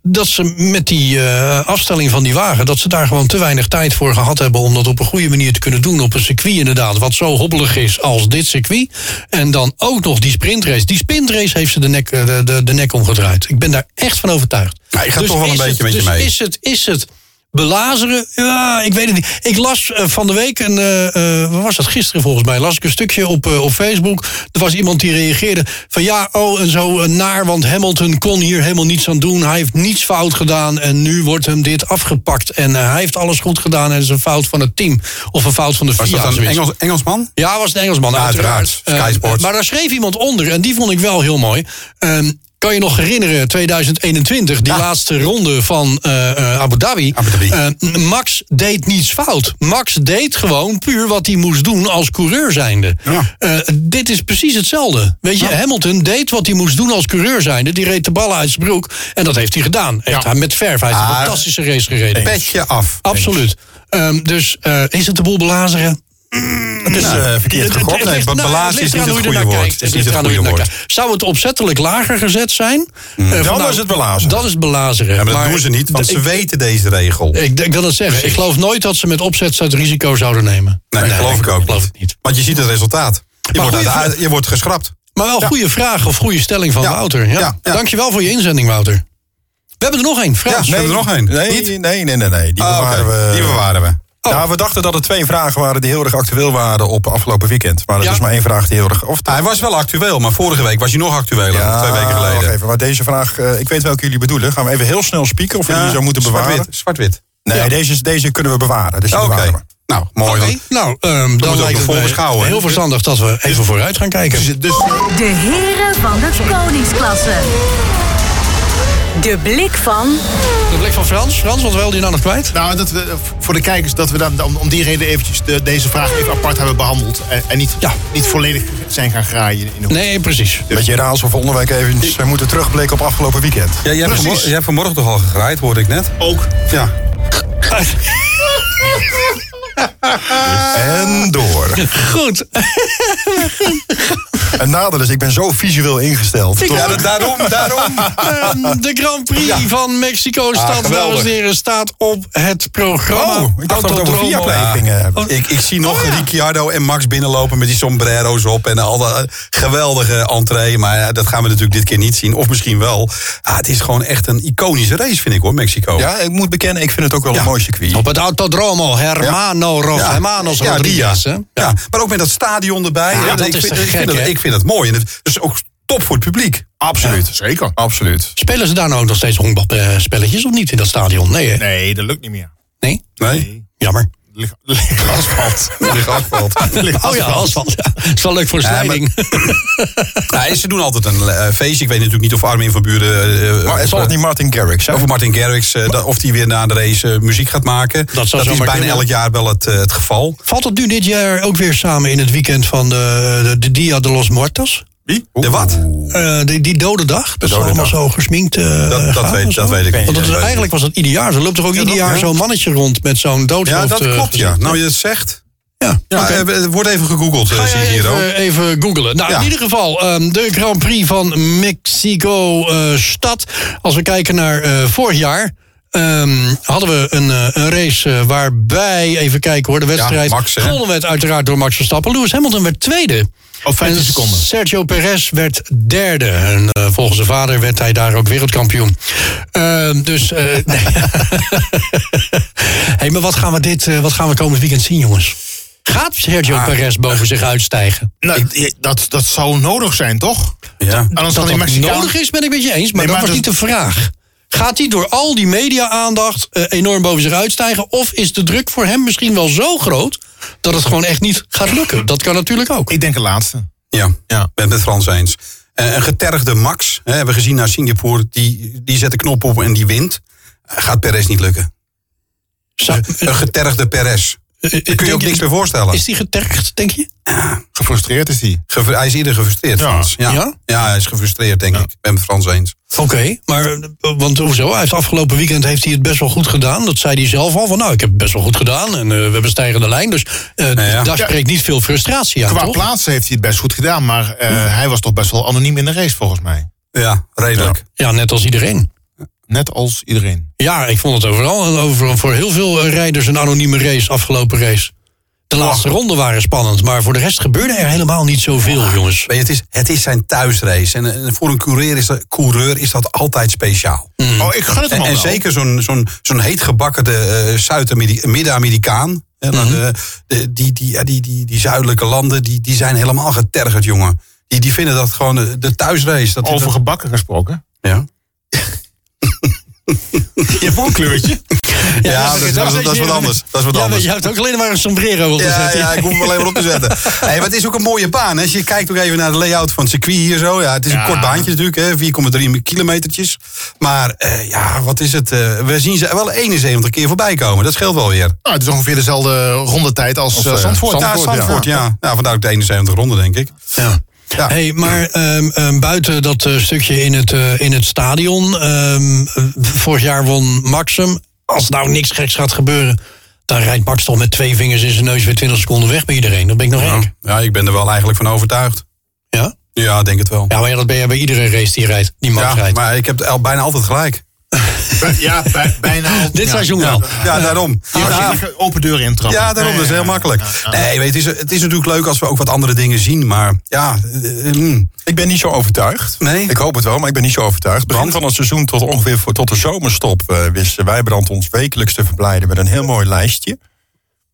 S1: dat ze met die eh, afstelling van die wagen... dat ze daar gewoon te weinig tijd voor gehad hebben... om dat op een goede manier te kunnen doen op een circuit inderdaad... wat zo hobbelig is als dit circuit. En dan ook nog die sprintrace. Die sprintrace heeft ze de nek, eh, de, de, de nek omgedraaid. Ik ben daar echt van overtuigd.
S2: Ja, ik ga Nou, toch wel een
S1: is
S2: beetje
S1: het,
S2: met je
S1: dus
S2: mee.
S1: Is het, is het belazeren? Ja, ik weet het niet. Ik las eh, van de week, een, eh, eh, wat was dat gisteren volgens mij, las ik een stukje op, eh, op Facebook. Er was iemand die reageerde van ja, oh en zo eh, naar, want Hamilton kon hier helemaal niets aan doen. Hij heeft niets fout gedaan en nu wordt hem dit afgepakt. En eh, hij heeft alles goed gedaan en het is een fout van het team. Of een fout van de
S2: Was
S1: FIA.
S2: dat een
S1: zoiets.
S2: Engels, Engelsman?
S1: Ja, was een Engelsman,
S2: Ja,
S1: uiteraard.
S2: uiteraard. Sky
S1: Eh,
S2: Sports.
S1: maar daar schreef iemand onder, en die vond ik wel heel mooi. Ehm, kan je nog herinneren, 2021, die laatste ronde van eh, eh, Abu Dhabi.
S2: Abu Dhabi.
S1: Eh, Max deed niets fout. Max deed gewoon puur wat hij moest doen als coureur zijnde.
S2: Ja.
S1: Eh, dit is precies hetzelfde. Weet je, Hamilton deed wat hij moest doen als coureur zijnde. Die reed de ballen uit zijn broek. En dat heeft hij gedaan. Echt, hij Met verf. Hij heeft een
S2: Ah,
S1: fantastische race gereden.
S2: Petje af.
S1: Absoluut. Ehm, dus eh, is het de boel belazeren?
S2: Het is eh,
S1: Het-
S2: verkeerd
S1: het-
S2: gegokt.
S1: het
S2: Nee,
S1: ligt- nou,
S2: balans
S1: het
S2: is
S1: ligt
S2: niet
S1: eraan
S2: het
S1: hoe je
S2: goede
S1: ernaar kijkt.
S2: woord.
S1: Het
S2: Is niet
S1: ligt
S2: het
S1: eraan hoe
S2: goede
S1: je ernaar
S2: woord.
S1: kijkt. Zou het opzettelijk lager gezet zijn? Eh, van,
S2: Hmm. Dan
S1: nou,
S2: is het belazeren.
S1: Dan is het belazeren.
S2: Ja, maar dat doen ze niet, want
S1: d-
S2: ze
S1: ik-
S2: weten deze regel.
S1: Ik, ik wil dat zeggen. Ik geloof nooit dat ze met opzet het risico zouden nemen.
S2: Nee, geloof ik ook
S1: geloof het niet.
S2: Want je ziet het resultaat. Je,
S1: Maar
S2: wordt,
S1: goeie
S2: uit de- je wordt geschrapt.
S1: Maar wel goede vraag of goede stelling van
S2: Ja,
S1: Wouter. Ja.
S2: ja, ja.
S1: Dankjewel voor je inzending, Wouter. We hebben er nog één. Frans.
S2: Ja, nee. hebben er nog één?
S5: Nee,
S2: Niet?
S5: nee, nee, nee, nee. Die,
S2: Ah, oké.
S5: bewaren we,
S2: Die bewaren we. Oh.
S5: Nou, we dachten dat er twee vragen waren die heel erg actueel waren op afgelopen weekend. Maar er
S1: Ja.
S5: is dus maar één vraag die heel erg... Of
S2: Hij was wel actueel, maar vorige week was hij nog actueler. Ah, twee weken geleden.
S5: Wacht even, maar deze vraag, eh, ik weet welke jullie bedoelen. Gaan we even heel snel spieken of we die zo moeten bewaren?
S2: Zwart-wit. zwart-wit.
S5: Nee, deze, deze kunnen we bewaren. Dus die
S2: Oké.
S5: bewaren we.
S2: Nou, mooi.
S1: Oké,
S2: dan.
S1: Nou, ehm dan
S2: ook
S1: lijkt
S2: nog
S1: het
S2: vol
S1: mij
S2: beschouwen, hè?
S1: heel verstandig dat we even vooruit gaan kijken.
S5: Dus
S4: De heren van de koningsklasse. De blik van
S1: De blik van Frans. Frans, wat wel die nou nog kwijt?
S3: Nou, dat we, voor de kijkers, dat we dan, om, om die reden eventjes de, deze vraag even apart hebben behandeld. En, en niet,
S1: Ja.
S3: niet volledig zijn gaan graaien in de hoek.
S1: Nee, precies.
S5: met je raads of volgende week even eh, moeten terugblikken op afgelopen weekend.
S2: Ja, jij, hebt
S3: Precies.
S2: vanmor- jij hebt vanmorgen toch al gegraaid, hoorde ik net.
S3: Ook.
S2: Ja.
S5: En door.
S1: Goed.
S5: Een nadeel is, ik ben zo visueel ingesteld. Oh,
S2: Ja, dat- daarom, daarom.
S1: Ehm, de Grand Prix van Mexico-stad,
S2: Ah, geweldig.
S1: dames en heren, staat op het programma.
S5: Oh, ik dacht dat we het over
S1: Autodromo.
S5: Viaplay
S2: Ja.
S5: gingen hebben.
S2: Ik, ik zie nog
S1: eh, Oh, ja.
S2: Ricciardo en Max binnenlopen met die sombrero's op. En al dat eh, geweldige entree. Maar ja, dat gaan we natuurlijk dit keer niet zien. Of misschien wel. Ah, het is gewoon echt een iconische race, vind ik hoor, Mexico.
S5: Ja, ik moet bekennen, ik vind het ook wel een mooi circuit.
S1: Op het Autodromo, Hermano Ro- Hermanos
S2: Ja,
S1: Rodriguez.
S2: die,
S1: hè?
S2: ja. Ja, maar ook met dat stadion erbij.
S1: Ja, dat
S2: ik
S1: is
S2: vind,
S1: te
S2: ik vind
S1: gek,
S2: dat-
S1: hè?
S2: Ik vind dat mooi. En het is ook top voor het publiek.
S3: Absoluut. Zeker.
S5: Absoluut.
S1: Spelen ze daar nou ook nog steeds honkbalspelletjes of niet in dat stadion? Nee, hè?
S3: Nee, dat lukt niet meer.
S1: Nee?
S2: Nee?
S1: Jammer.
S3: Ligt ligt asfalt.
S2: Ligt afvalt.
S1: Oh ja, asfalt. Ja. Dat is wel leuk voor
S2: maar-
S1: slijding.
S2: Ja, ze doen altijd een eh, feestje. Ik weet natuurlijk niet of Armin van Buren... eh,
S5: Maar
S2: eh,
S5: zal het niet Martin Garrix zijn?
S2: Over Martin Garrix, eh, dat- of die weer na de race eh, muziek gaat maken.
S1: zou
S2: is
S1: zomaar
S2: bijna
S1: kunnen.
S2: elk jaar wel het, eh, het geval.
S1: Valt het nu dit jaar ook weer samen in het weekend van de, de, de Dia de los Muertos?
S2: Wie? De wat?
S1: Eh, die, die dode dag, dat is
S2: dode
S1: allemaal
S2: dag.
S1: zo gesminkt. eh,
S2: dat
S1: gaan
S2: weet-
S1: en zo.
S2: dat weet ik niet.
S1: Want dat
S2: Dat
S1: is,
S2: weet ik
S1: eigenlijk was dat ieder jaar. Ze loopt er ook ieder jaar zo'n mannetje rond met zo'n
S2: Ja,
S1: doodshoofd.
S2: dat
S1: eh,
S2: klopt, ja.
S1: gezicht.
S2: Nou, je het zegt.
S1: ja.
S2: Ja,
S1: oké.
S2: eh, eh, wordt even gegoogeld, eh,
S1: Ga
S2: zie ik
S1: jij
S2: hier ook.
S1: even, even googelen. Nou,
S2: Ja.
S1: in ieder geval, ehm, de Grand Prix van Mexico-stad. Als we kijken naar eh, vorig jaar... ehm, hadden we een, eh, een race eh, waarbij, even kijken hoor, de wedstrijd
S2: Max, hè?
S1: gewonnen werd uiteraard door Max Verstappen. Lewis Hamilton werd tweede.
S3: Op 15
S1: En
S3: seconden.
S1: Sergio Perez werd derde. En eh, volgens zijn vader werd hij daar ook wereldkampioen. Ehm, dus. eh, nee. hey, maar wat gaan, we dit, eh, wat gaan we komend weekend zien, jongens? Gaat Sergio
S3: Ah.
S1: Perez boven zich uitstijgen?
S3: Nou, ik- dat, dat zou nodig zijn, toch?
S2: Ja.
S3: Anders
S1: Dat
S3: kan die
S1: dat
S3: Mexicaan...
S1: nodig is, ben ik met je eens. Maar dat
S3: Nee, maar
S1: was niet de vraag. Gaat hij door al die media-aandacht eh, enorm boven zich uitstijgen? Of is de druk voor hem misschien wel zo groot... dat het gewoon echt niet gaat lukken? Dat kan natuurlijk ook.
S3: Ik denk een laatste.
S2: Ja, ja. ben het met Frans eens. Eh, een getergde Max, hè, hebben we gezien naar Singapore, die, die zet de knop op en die wint. Eh, gaat Perez niet lukken.
S1: Zou-
S2: Een getergde Perez.
S1: eh,
S2: Kun je
S1: denk
S2: ook niks meer voorstellen.
S1: Is die getergd, denk je?
S3: Gefrustreerd is die.
S2: Gefru- hij is eerder gefrustreerd,
S3: Ja.
S2: Frans. Ja.
S1: Ja?
S2: Ja? hij is gefrustreerd, denk ik. Ik ben het Frans eens.
S1: Oké, maar eh, want hoezo? Hij heeft afgelopen weekend heeft hij het best wel goed gedaan. Dat zei hij zelf al. Van, nou, ik heb het best wel goed gedaan en eh, we hebben stijgende lijn. Dus eh,
S2: ja.
S1: daar spreekt niet veel frustratie aan,
S3: Qua
S1: toch?
S3: plaatsen heeft hij het best goed gedaan, maar eh, hij was toch best wel anoniem in de race volgens mij.
S2: Ja, redelijk.
S1: Ja, net als iedereen.
S3: Net als iedereen.
S1: Ja, ik vond het overal, en overal voor heel veel eh, rijders een anonieme race, afgelopen race. De laatste ronden waren spannend, maar voor de rest gebeurde er helemaal niet zoveel, jongens.
S2: Weet je, het, is, het is zijn thuisrace. En, eh, voor een coureur is dat, coureur is dat altijd speciaal.
S3: Oh, ik gun het hem
S2: En,
S3: al
S2: en
S3: wel.
S2: zeker zo'n zo'n zo'n heetgebakkerde eh Zuid-Midden-Amerikaan. nou, die, die, die, ja, die, die, die zuidelijke landen, die, die zijn helemaal getergerd, jongen. Die, die vinden dat gewoon eh, de thuisrace. Dat
S3: Over gebakken gesproken.
S2: ja.
S1: Je hebt ook een kleurtje.
S2: Ja, dat is- dat is- dat is wat anders. Dat is wat
S1: ja, maar
S2: anders.
S1: Je hebt ook alleen maar een sombrero op te
S2: Ja,
S1: zetten.
S2: ja, ik hoef hem alleen maar op te zetten. Hey, maar het is ook een mooie baan. hè. Als je kijkt ook even naar de layout van het circuit hier zo. Ja, het is
S3: Ja.
S2: een kort baantje natuurlijk, hè, 4,3 kilometertjes. Maar eh, ja, wat is het? eh, we zien ze wel 71 keer voorbij komen. Dat scheelt wel weer.
S3: Nou, het is ongeveer dezelfde rondetijd als eh,
S2: Eh,
S3: Zandvoort.
S2: Ja, Zandvoort, ja. Nou, vandaar ook de 71 ronde, denk ik.
S1: Ja.
S2: Ja.
S1: Hey, maar ehm, ehm, buiten dat eh, stukje in het, eh, in het stadion, ehm, eh, vorig jaar won Max hem. Als nou niks geks gaat gebeuren, dan rijdt Max toch met twee vingers in zijn neus weer 20 seconden weg bij iedereen. Dat ben ik nog
S2: Ja.
S1: gek.
S2: Ja, ik ben er wel eigenlijk van overtuigd.
S1: Ja?
S2: Ja, ik denk het wel.
S1: ja, maar ja, dat ben je bij iedere race die rijdt, die Max
S2: Ja,
S1: rijdt.
S2: maar ik heb al bijna altijd gelijk.
S3: Eh, Ja, bij- bijna. al-
S1: Dit
S3: ja.
S1: seizoen wel.
S2: Ja, daarom.
S3: Ja, als je
S2: Ja.
S3: niet open deuren intrapt.
S2: Ja, daarom. Dat is heel makkelijk. Nee, weet, je, het, is, het is natuurlijk leuk als we ook wat andere dingen zien. Maar ja, eh, eh, mm.
S5: Ik ben niet zo overtuigd.
S2: Nee?
S5: Ik hoop het wel, maar ik ben niet zo overtuigd. Begin van het seizoen tot ongeveer voor, tot de zomerstop eh, wisten wij brand ons wekelijks te verblijden met een heel mooi lijstje.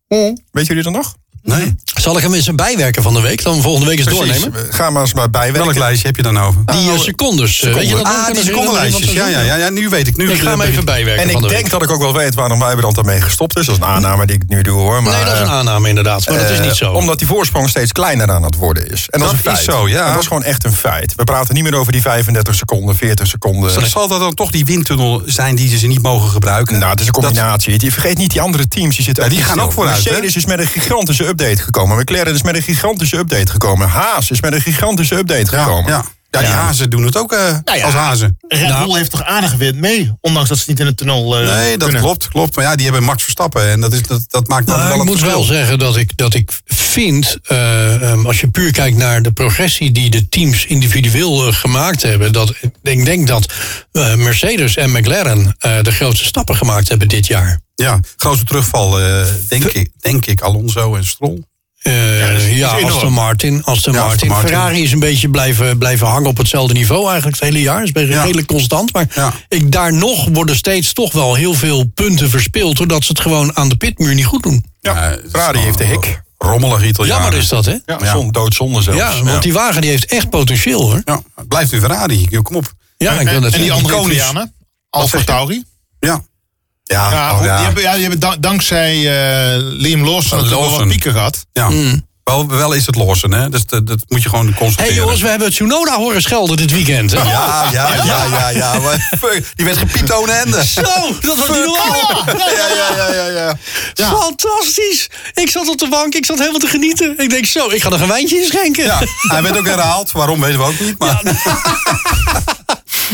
S2: Hm.
S5: Weet jullie dat nog?
S2: nee.
S1: Zal ik hem eens een bijwerken van de week? Dan volgende week eens doornemen.
S5: We- Ga maar eens maar bijwerken.
S2: Welk lijstje heb je dan over?
S5: Nou,
S1: Die eh, secondes. eh, Weet je dat nog?
S2: ah, die secondenlijstjes. Ja, ja, ja, ja, nu weet ik. Nu
S1: Ik ga hem even bijwerken
S5: En
S1: van
S5: ik
S1: de
S5: denk
S1: week.
S5: dat ik ook wel weet waarom Wijbrand daarmee gestopt is. Dat is een aanname die ik nu doe hoor. Maar,
S1: nee, dat is een
S5: eh,
S1: aanname inderdaad, maar dat is niet zo.
S5: eh, Omdat die voorsprong steeds kleiner aan het worden is. En dat,
S2: Dat
S5: is een
S2: is
S5: feit.
S2: zo, ja.
S5: Dat is gewoon echt een feit. We praten niet meer over die 35 seconden, 40 seconden.
S2: Zal dat dan toch die windtunnel zijn die ze niet mogen gebruiken?
S5: Nou, het is een combinatie. Die- vergeet niet die andere teams. Die, zitten
S2: Ja, die
S5: niet
S2: gaan
S5: stil.
S2: ook vooruit,
S5: Mercedes is met een gigantische update gekomen. McLaren is met een gigantische update gekomen. Haas is met een gigantische update
S2: ja,
S5: gekomen.
S2: ja. ja, die hazen doen het ook eh, nou.
S3: ja.
S2: als hazen.
S3: Red Bull heeft toch aardig wind mee? Ondanks dat ze niet in het tunnel eh
S2: Nee, dat
S3: kunnen.
S2: klopt, klopt. Maar ja, die hebben Max Verstappen. En dat, is, dat, dat maakt dan
S1: Nou,
S2: wel
S1: ik
S2: het
S1: moet
S2: verschil.
S1: wel zeggen dat ik, dat ik vind, eh, ehm, als je puur kijkt naar de progressie die de teams individueel eh, gemaakt hebben, dat ik denk dat eh, Mercedes en McLaren eh, de grootste stappen gemaakt hebben dit jaar.
S2: Ja, grootste terugval, eh, denk, ik, denk ik, Alonso en Stroll.
S1: Eh, ja,
S3: enorm.
S1: Aston Martin, Aston,
S2: Ja,
S1: Martin.
S2: Aston Martin.
S1: Ferrari is een beetje blijven, blijven hangen op hetzelfde niveau eigenlijk het hele jaar. Is bij-
S2: Ja.
S1: redelijk constant. Maar
S2: Ja.
S1: ik, daar nog worden steeds toch wel heel veel punten verspild. Doordat ze het gewoon aan de pitmuur niet goed doen.
S5: Ja,
S2: Eh,
S5: Ferrari heeft de hik.
S2: Rommelig Italiaan.
S1: Jammer is dat, hè?
S5: Ja, zon- doodzonde zelfs.
S1: Ja, want die wagen die heeft echt potentieel, hoor.
S2: Ja, het blijft u Ferrari. Joh, Kom op.
S1: Ja, ik wil
S3: En,
S1: net
S3: en die
S1: zeggen.
S3: andere
S2: iconisch.
S3: Italianen? Alfa
S2: zeg je?
S3: Tauri?
S2: Ja. Ja,
S3: Ja,
S2: oh,
S3: goed,
S2: ja.
S3: Die hebben, ja, die hebben dank- dankzij eh, Liam Lawson natuurlijk wel wat
S2: Lawson.
S3: pieken gehad.
S2: Ja. Wel, wel is het lossen, hè? Dus dat, dat moet je gewoon
S1: Hé
S2: constateren.
S1: hey jongens, we hebben Tsunoda horen schelden dit weekend. Hè?
S2: Ja, Ah, ja, ja, ja, ja. maar fuck, die werd gepiept ohne hende.
S1: Ah, Zo, dat was niet normaal.
S2: Ja, ja, ja, ja, ja.
S1: Fantastisch. Ik zat op de bank, ik zat helemaal te genieten. Ik denk zo, ik ga nog een wijntje inschenken.
S2: Ja, hij werd ook herhaald. Waarom weten we ook niet. Maar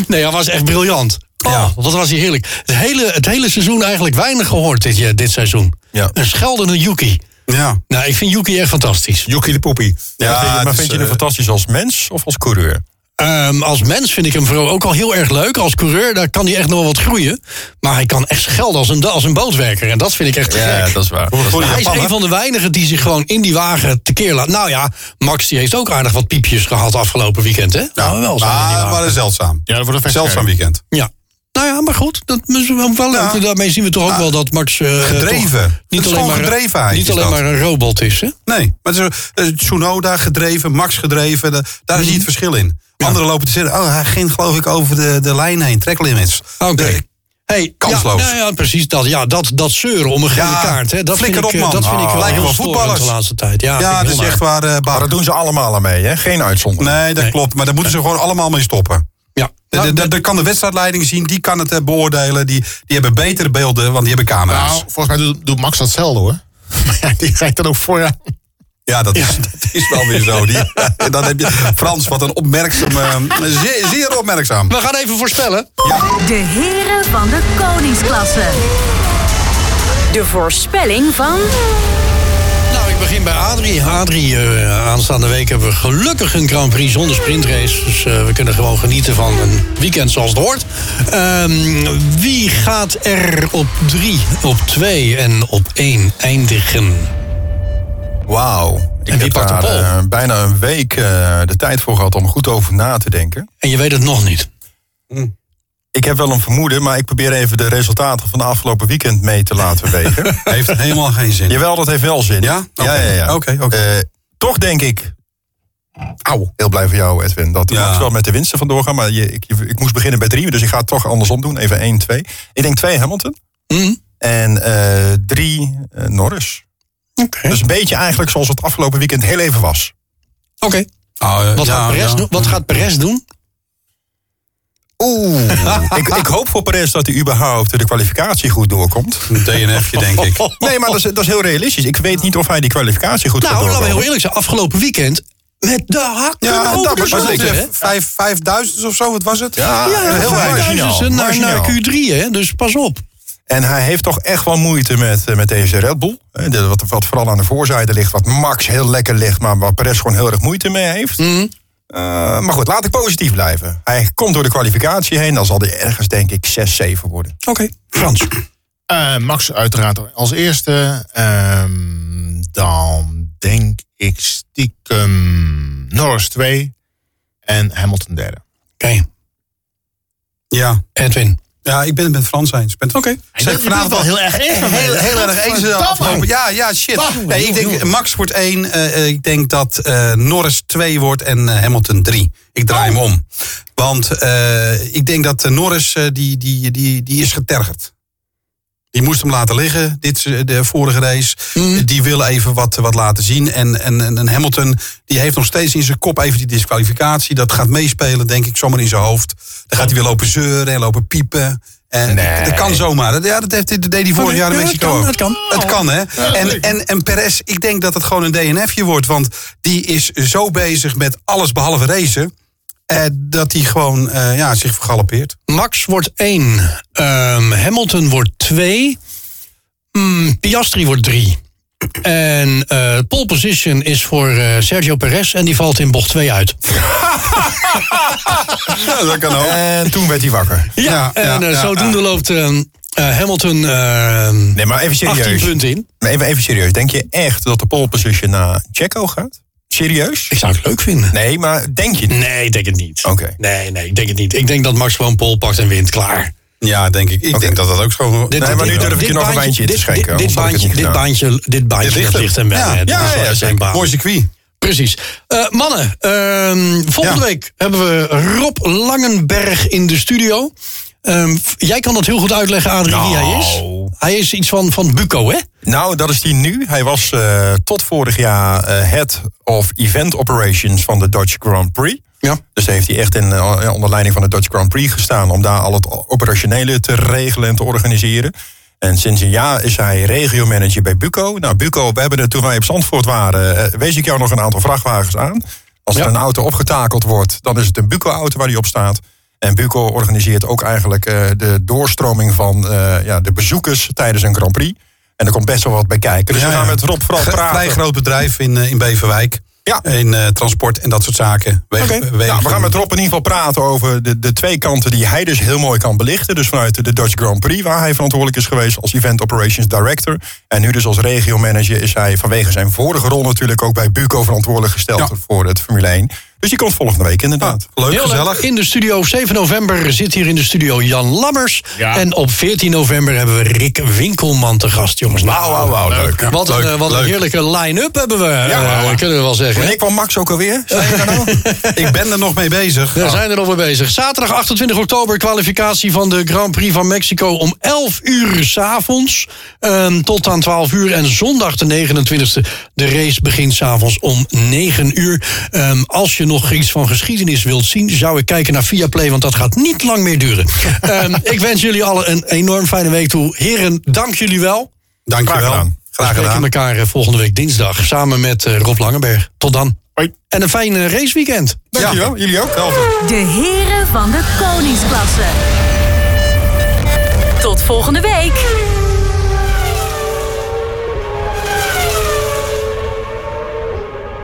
S1: Nee, hij was echt briljant. Oh,
S2: Ja.
S1: wat was hij heerlijk. Het hele, het hele seizoen eigenlijk weinig gehoord dit, jaar- dit seizoen.
S5: Ja.
S1: Een scheldende Yuki.
S2: ja,
S1: Nou, ik vind Yuki echt fantastisch.
S5: Joekie de Poepie. Ja,
S2: Ja,
S5: maar vind je-
S2: het
S5: maar
S2: is,
S5: vind je hem
S2: eh,
S5: fantastisch als mens of als coureur?
S1: Ehm, als mens vind ik hem vooral ook al heel erg leuk. Als coureur, daar kan hij echt nog wel wat groeien. Maar hij kan echt schelden als een, als een bootwerker. En dat vind ik echt te gek.
S5: dat is waar.
S2: voor die
S1: Hij is een
S2: Japaner.
S1: van de weinigen die zich gewoon in die wagen tekeer laat. Nou ja, Max die heeft ook aardig wat piepjes gehad afgelopen weekend, hè? nou, wel zo. in die
S2: Ah,
S1: wagen.
S2: maar een zeldzaam.
S3: Ja, dat wordt een
S2: Zeldzaam
S3: vechtscheiding.
S2: weekend.
S1: Ja. Nou ja, maar goed, dat is wel wel leuk.
S2: Ja.
S1: Daarmee zien we toch ook wel dat Max... eh,
S2: Gedreven.
S1: toch
S2: Het is gewoon gedrevenheid,
S1: eh, Niet
S2: is
S1: alleen
S2: dat.
S1: maar een robot is, hè?
S2: Nee, maar het is, eh, Tsunoda gedreven, Max gedreven, da- daar zie je het verschil in. Anderen lopen te zeggen, oh, hij ging geloof ik over de, de lijn heen, tracklimits.
S1: Oké.
S2: De-
S1: Hey,
S2: kansloos.
S1: Ja, nou ja, precies dat. Ja, dat, dat zeuren om een gele
S2: Ja,
S1: kaart. Hè, dat
S2: flikker
S1: vind ik,
S2: op,
S1: eh,
S2: man.
S1: Dat vind ik
S2: Ah,
S1: wel
S2: lijken
S1: heel
S2: wel
S1: storend
S2: voetballers.
S1: de laatste tijd. Ja,
S2: ja,
S1: vind ik
S2: dat is
S1: heel
S2: echt waar. eh, Bart.
S5: Maar dat doen ze allemaal aan mee, hè? Geen uitzondering.
S2: Nee, dat
S1: Nee.
S2: klopt. Maar daar moeten ze gewoon allemaal mee stoppen.
S1: Ja.
S2: De- de- de- de- kan de wedstrijdleiding zien, die kan het eh, beoordelen. Die, die hebben betere beelden, want die hebben camera's.
S3: Nou, volgens mij doet, doet Max datzelfde hoor. Maar ja, die rijdt dan ook vooraan.
S2: Ja, dat is, dat is wel weer zo. Die, dan heb je, Frans, wat een opmerkzaam. eh, zeer, zeer opmerkzaam.
S1: We gaan even voorspellen.
S4: De heren van de koningsklasse. De voorspelling van
S1: Nou, ik begin bij Adrie. Adrie, eh, aanstaande week hebben we gelukkig een Grand Prix zonder sprintrace. Dus eh, we kunnen gewoon genieten van een weekend zoals het hoort. Ehm, wie gaat er op drie, op twee en op één eindigen?
S5: Wauw. Ik
S1: wie
S5: heb
S1: pakt de
S5: daar,
S1: pol?
S5: eh, bijna een week eh, de tijd voor gehad om goed over na te denken.
S1: En je weet het nog niet.
S5: Ik heb wel een vermoeden, maar ik probeer even de resultaten van de afgelopen weekend mee te laten wegen.
S2: Heeft helemaal geen zin.
S5: Jawel, dat heeft wel zin.
S2: Ja?
S5: Ja,
S2: Oké.
S5: ja, ja.
S2: Oké, oké.
S5: Eh, toch denk ik... Auw, heel blij voor jou Edwin. Dat
S2: Ja.
S5: Max wel met de winsten vandoor gaan. Maar je, ik, je- ik moest beginnen bij drie, dus ik ga het toch andersom doen. Even één, twee. Ik denk twee Hamilton.
S2: Mhm.
S5: En eh, drie eh, Norris.
S1: Oké.
S5: Dus een beetje eigenlijk zoals het afgelopen weekend heel even was.
S1: Oké.
S2: Nou, eh,
S1: Wat,
S2: ja,
S1: gaat Perez
S2: ja.
S1: doen? Wat gaat Perez doen?
S5: Oeh. ik, ik hoop voor Perez dat hij überhaupt de kwalificatie goed doorkomt.
S2: Een DNF'je, denk ik.
S5: Nee, maar dat is, dat is heel realistisch. Ik weet niet of hij die kwalificatie goed gaat
S1: Nou, laten we
S5: doorkomen.
S1: heel eerlijk zijn. Afgelopen weekend met de hakken
S2: Ja,
S1: over
S2: dat
S1: de
S2: was
S1: sloot,
S2: zeker.
S1: hè?
S2: Vijf, vijfduizend of zo, wat was het?
S5: Ja,
S1: Ja,
S5: heel weinig.
S2: Oh,
S1: heel
S2: eh,
S1: naar,
S5: Marginaal.
S1: naar Q3, hè? Dus pas op.
S5: En hij heeft toch echt wel moeite met, eh, met deze Red Bull. Eh, de- Wat, wat vooral aan de voorzijde ligt, wat Max heel lekker ligt... maar waar Perez gewoon heel erg moeite mee heeft.
S1: Mhm.
S5: Eh, maar goed, laat ik positief blijven. Hij komt door de kwalificatie heen. Dan zal hij ergens, denk ik, 6, 7 worden.
S1: Oké, Frans.
S3: Eh, Max uiteraard als eerste. Ehm, dan denk ik stiekem Norris 2 en Hamilton derde.
S1: Oké,
S2: Ja.
S1: Edwin.
S2: Ja, ik ben het met Frans eens. Oké. Okay.
S3: Ik ben het wel heel erg eens met mij.
S2: Heel, heel erg eens. eh,
S3: Godverdamme.
S2: afgelopen. Ja, ja, shit.
S3: Wacht,
S2: Nee, ik denk, Max wordt één. eh, eh, ik denk dat eh, Norris 2 wordt en eh, Hamilton 3. Ik draai
S3: Oh.
S2: hem om. Want eh, ik denk dat eh, Norris, eh, die, die, die, die is getergerd. Die moest hem laten liggen, dit, eh, de vorige race.
S1: Mhm.
S2: Die wil even wat, wat laten zien. En, en, en en Hamilton die heeft nog steeds in zijn kop even die disqualificatie. Dat gaat meespelen, denk ik, zomaar in zijn hoofd. Dan gaat hij weer lopen zeuren en lopen piepen. En Dat kan zomaar. Dat- Ja, dat, heeft, dat deed hij vorig
S1: Oké,
S2: jaar in
S1: ja, dat
S2: Mexico
S1: kan,
S2: ook.
S1: dat kan. Oh.
S2: Het kan, hè? En, en, en Perez, ik denk dat het gewoon een DNF'je wordt. Want die is zo bezig met alles behalve racen... Eh, dat hij gewoon eh, ja, zich vergalopeert.
S1: Max wordt 1. Hamilton wordt 2. Piastri wordt 3. En eh, pole position is voor eh, Sergio Perez en die valt in bocht 2 uit.
S2: Ja, dat kan ook.
S5: En toen werd hij wakker.
S2: Ja,
S1: en
S2: ja,
S1: eh,
S2: ja,
S1: zodoende loopt ehm, eh, Hamilton eh,
S5: Nee, maar even
S1: 18
S5: serieus.
S1: punten in.
S5: Maar Even, even serieus. Denk je echt dat de pole position naar Checo gaat? Serieus?
S1: Ik zou het leuk vinden.
S5: Nee, maar denk je niet?
S1: Nee, ik denk het niet.
S5: Oké.
S1: Nee, nee, ik denk het niet. Ik denk dat Max gewoon pole pakt en wint. Klaar.
S2: Ja, denk ik. Ik
S5: Oké.
S2: denk dat dat ook zo...
S5: Nee, maar nu durf ik je nog een wijntje in te
S1: dit-
S5: schenken,
S1: Dit, dit,
S5: anders had ik het
S1: baantje,
S5: niet
S1: dit baantje,
S5: gedaan.
S1: dit baantje
S2: ligt
S1: dat
S2: hem.
S1: ligt hem wel.
S2: Ja,
S1: hè. Dat
S2: ja,
S1: is
S2: ja,
S1: wel
S2: ja,
S1: zijn
S2: zeker.
S1: baan.
S2: Mooi circuit.
S1: Precies. Eh, mannen, ehm, volgende
S2: Ja.
S1: week hebben we Rob Langenberg in de studio. Ehm, f- jij kan dat heel goed uitleggen, Adrie, wie hij is.
S5: Nou.
S1: Hij is iets van, van Buco, hè?
S5: Nou, dat is die nu. Hij was eh, tot vorig jaar eh, head of event operations van de Dutch Grand Prix.
S1: Ja.
S5: Dus daar heeft hij echt in, eh, ja, onder leiding van de Dutch Grand Prix gestaan om daar al het operationele te regelen en te organiseren. En sinds een jaar is hij regiomanager bij Buco. Nou, Buco, we hebben het toen wij op Zandvoort waren, eh, wees ik jou nog een aantal vrachtwagens aan. Als
S1: Ja.
S5: er een auto opgetakeld wordt, dan is het een Buco-auto waar die op staat. En Buco organiseert ook eigenlijk eh, de doorstroming van eh, ja, de bezoekers tijdens een Grand Prix. En er komt best wel wat bij kijken. Dus
S2: Ja,
S5: we gaan
S2: ja.
S5: met Rob vooral
S2: Gro- Vrij
S5: praten.
S2: groot bedrijf in, eh, in Beverwijk.
S5: Ja.
S2: In eh, transport en dat soort zaken. Wegen-
S1: Oké.
S2: wegen-
S5: Nou, we gaan met Rob in ieder geval praten over de, de twee kanten die hij dus heel mooi kan belichten. Dus vanuit de Dutch Grand Prix, waar hij verantwoordelijk is geweest als Event Operations Director. En nu dus als regiomanager is hij vanwege zijn vorige rol natuurlijk ook bij Buco verantwoordelijk gesteld
S2: Ja. Ah,
S5: voor het Formule 1. Dus die komt volgende week inderdaad.
S2: Leuk,
S1: Heel leuk.
S2: gezellig.
S1: In de studio, 7 november, zit hier in de studio Jan Lammers.
S3: Ja.
S1: En op 14 november hebben we Rick Winkelman te gast, jongens. Nou,
S5: wauw, wauw, leuk.
S1: Wat, een,
S2: Leuk,
S1: eh, wat een
S2: leuk.
S1: heerlijke line-up hebben we, eh,
S5: wauw.
S1: kunnen we wel zeggen.
S5: En
S1: hè?
S5: ik kwam Max ook alweer.
S2: Ik ben er nog mee bezig.
S1: Daar zijn we nog mee bezig. Zaterdag 28 oktober, kwalificatie van de Grand Prix van Mexico om 11 uur s'avonds ehm tot aan 12 uur. En zondag de 29e, de race begint s'avonds om 9 uur. Ehm, als je nog nog iets van geschiedenis wilt zien, zou ik kijken naar Viaplay, want dat gaat niet lang meer duren. Ehm, ik wens jullie allen een enorm fijne week toe. Heren, dank jullie wel.
S2: Dank je
S5: Graag
S2: wel.
S5: gedaan.
S2: Graag
S1: We
S2: gedaan.
S1: spreken elkaar eh, volgende week dinsdag samen met eh, Rob Langenberg. Tot dan.
S5: Hoi.
S1: En een fijn eh, raceweekend.
S5: Dankjewel, jullie ook. Hetzelfde.
S4: De heren van de koningsklasse. Tot volgende week.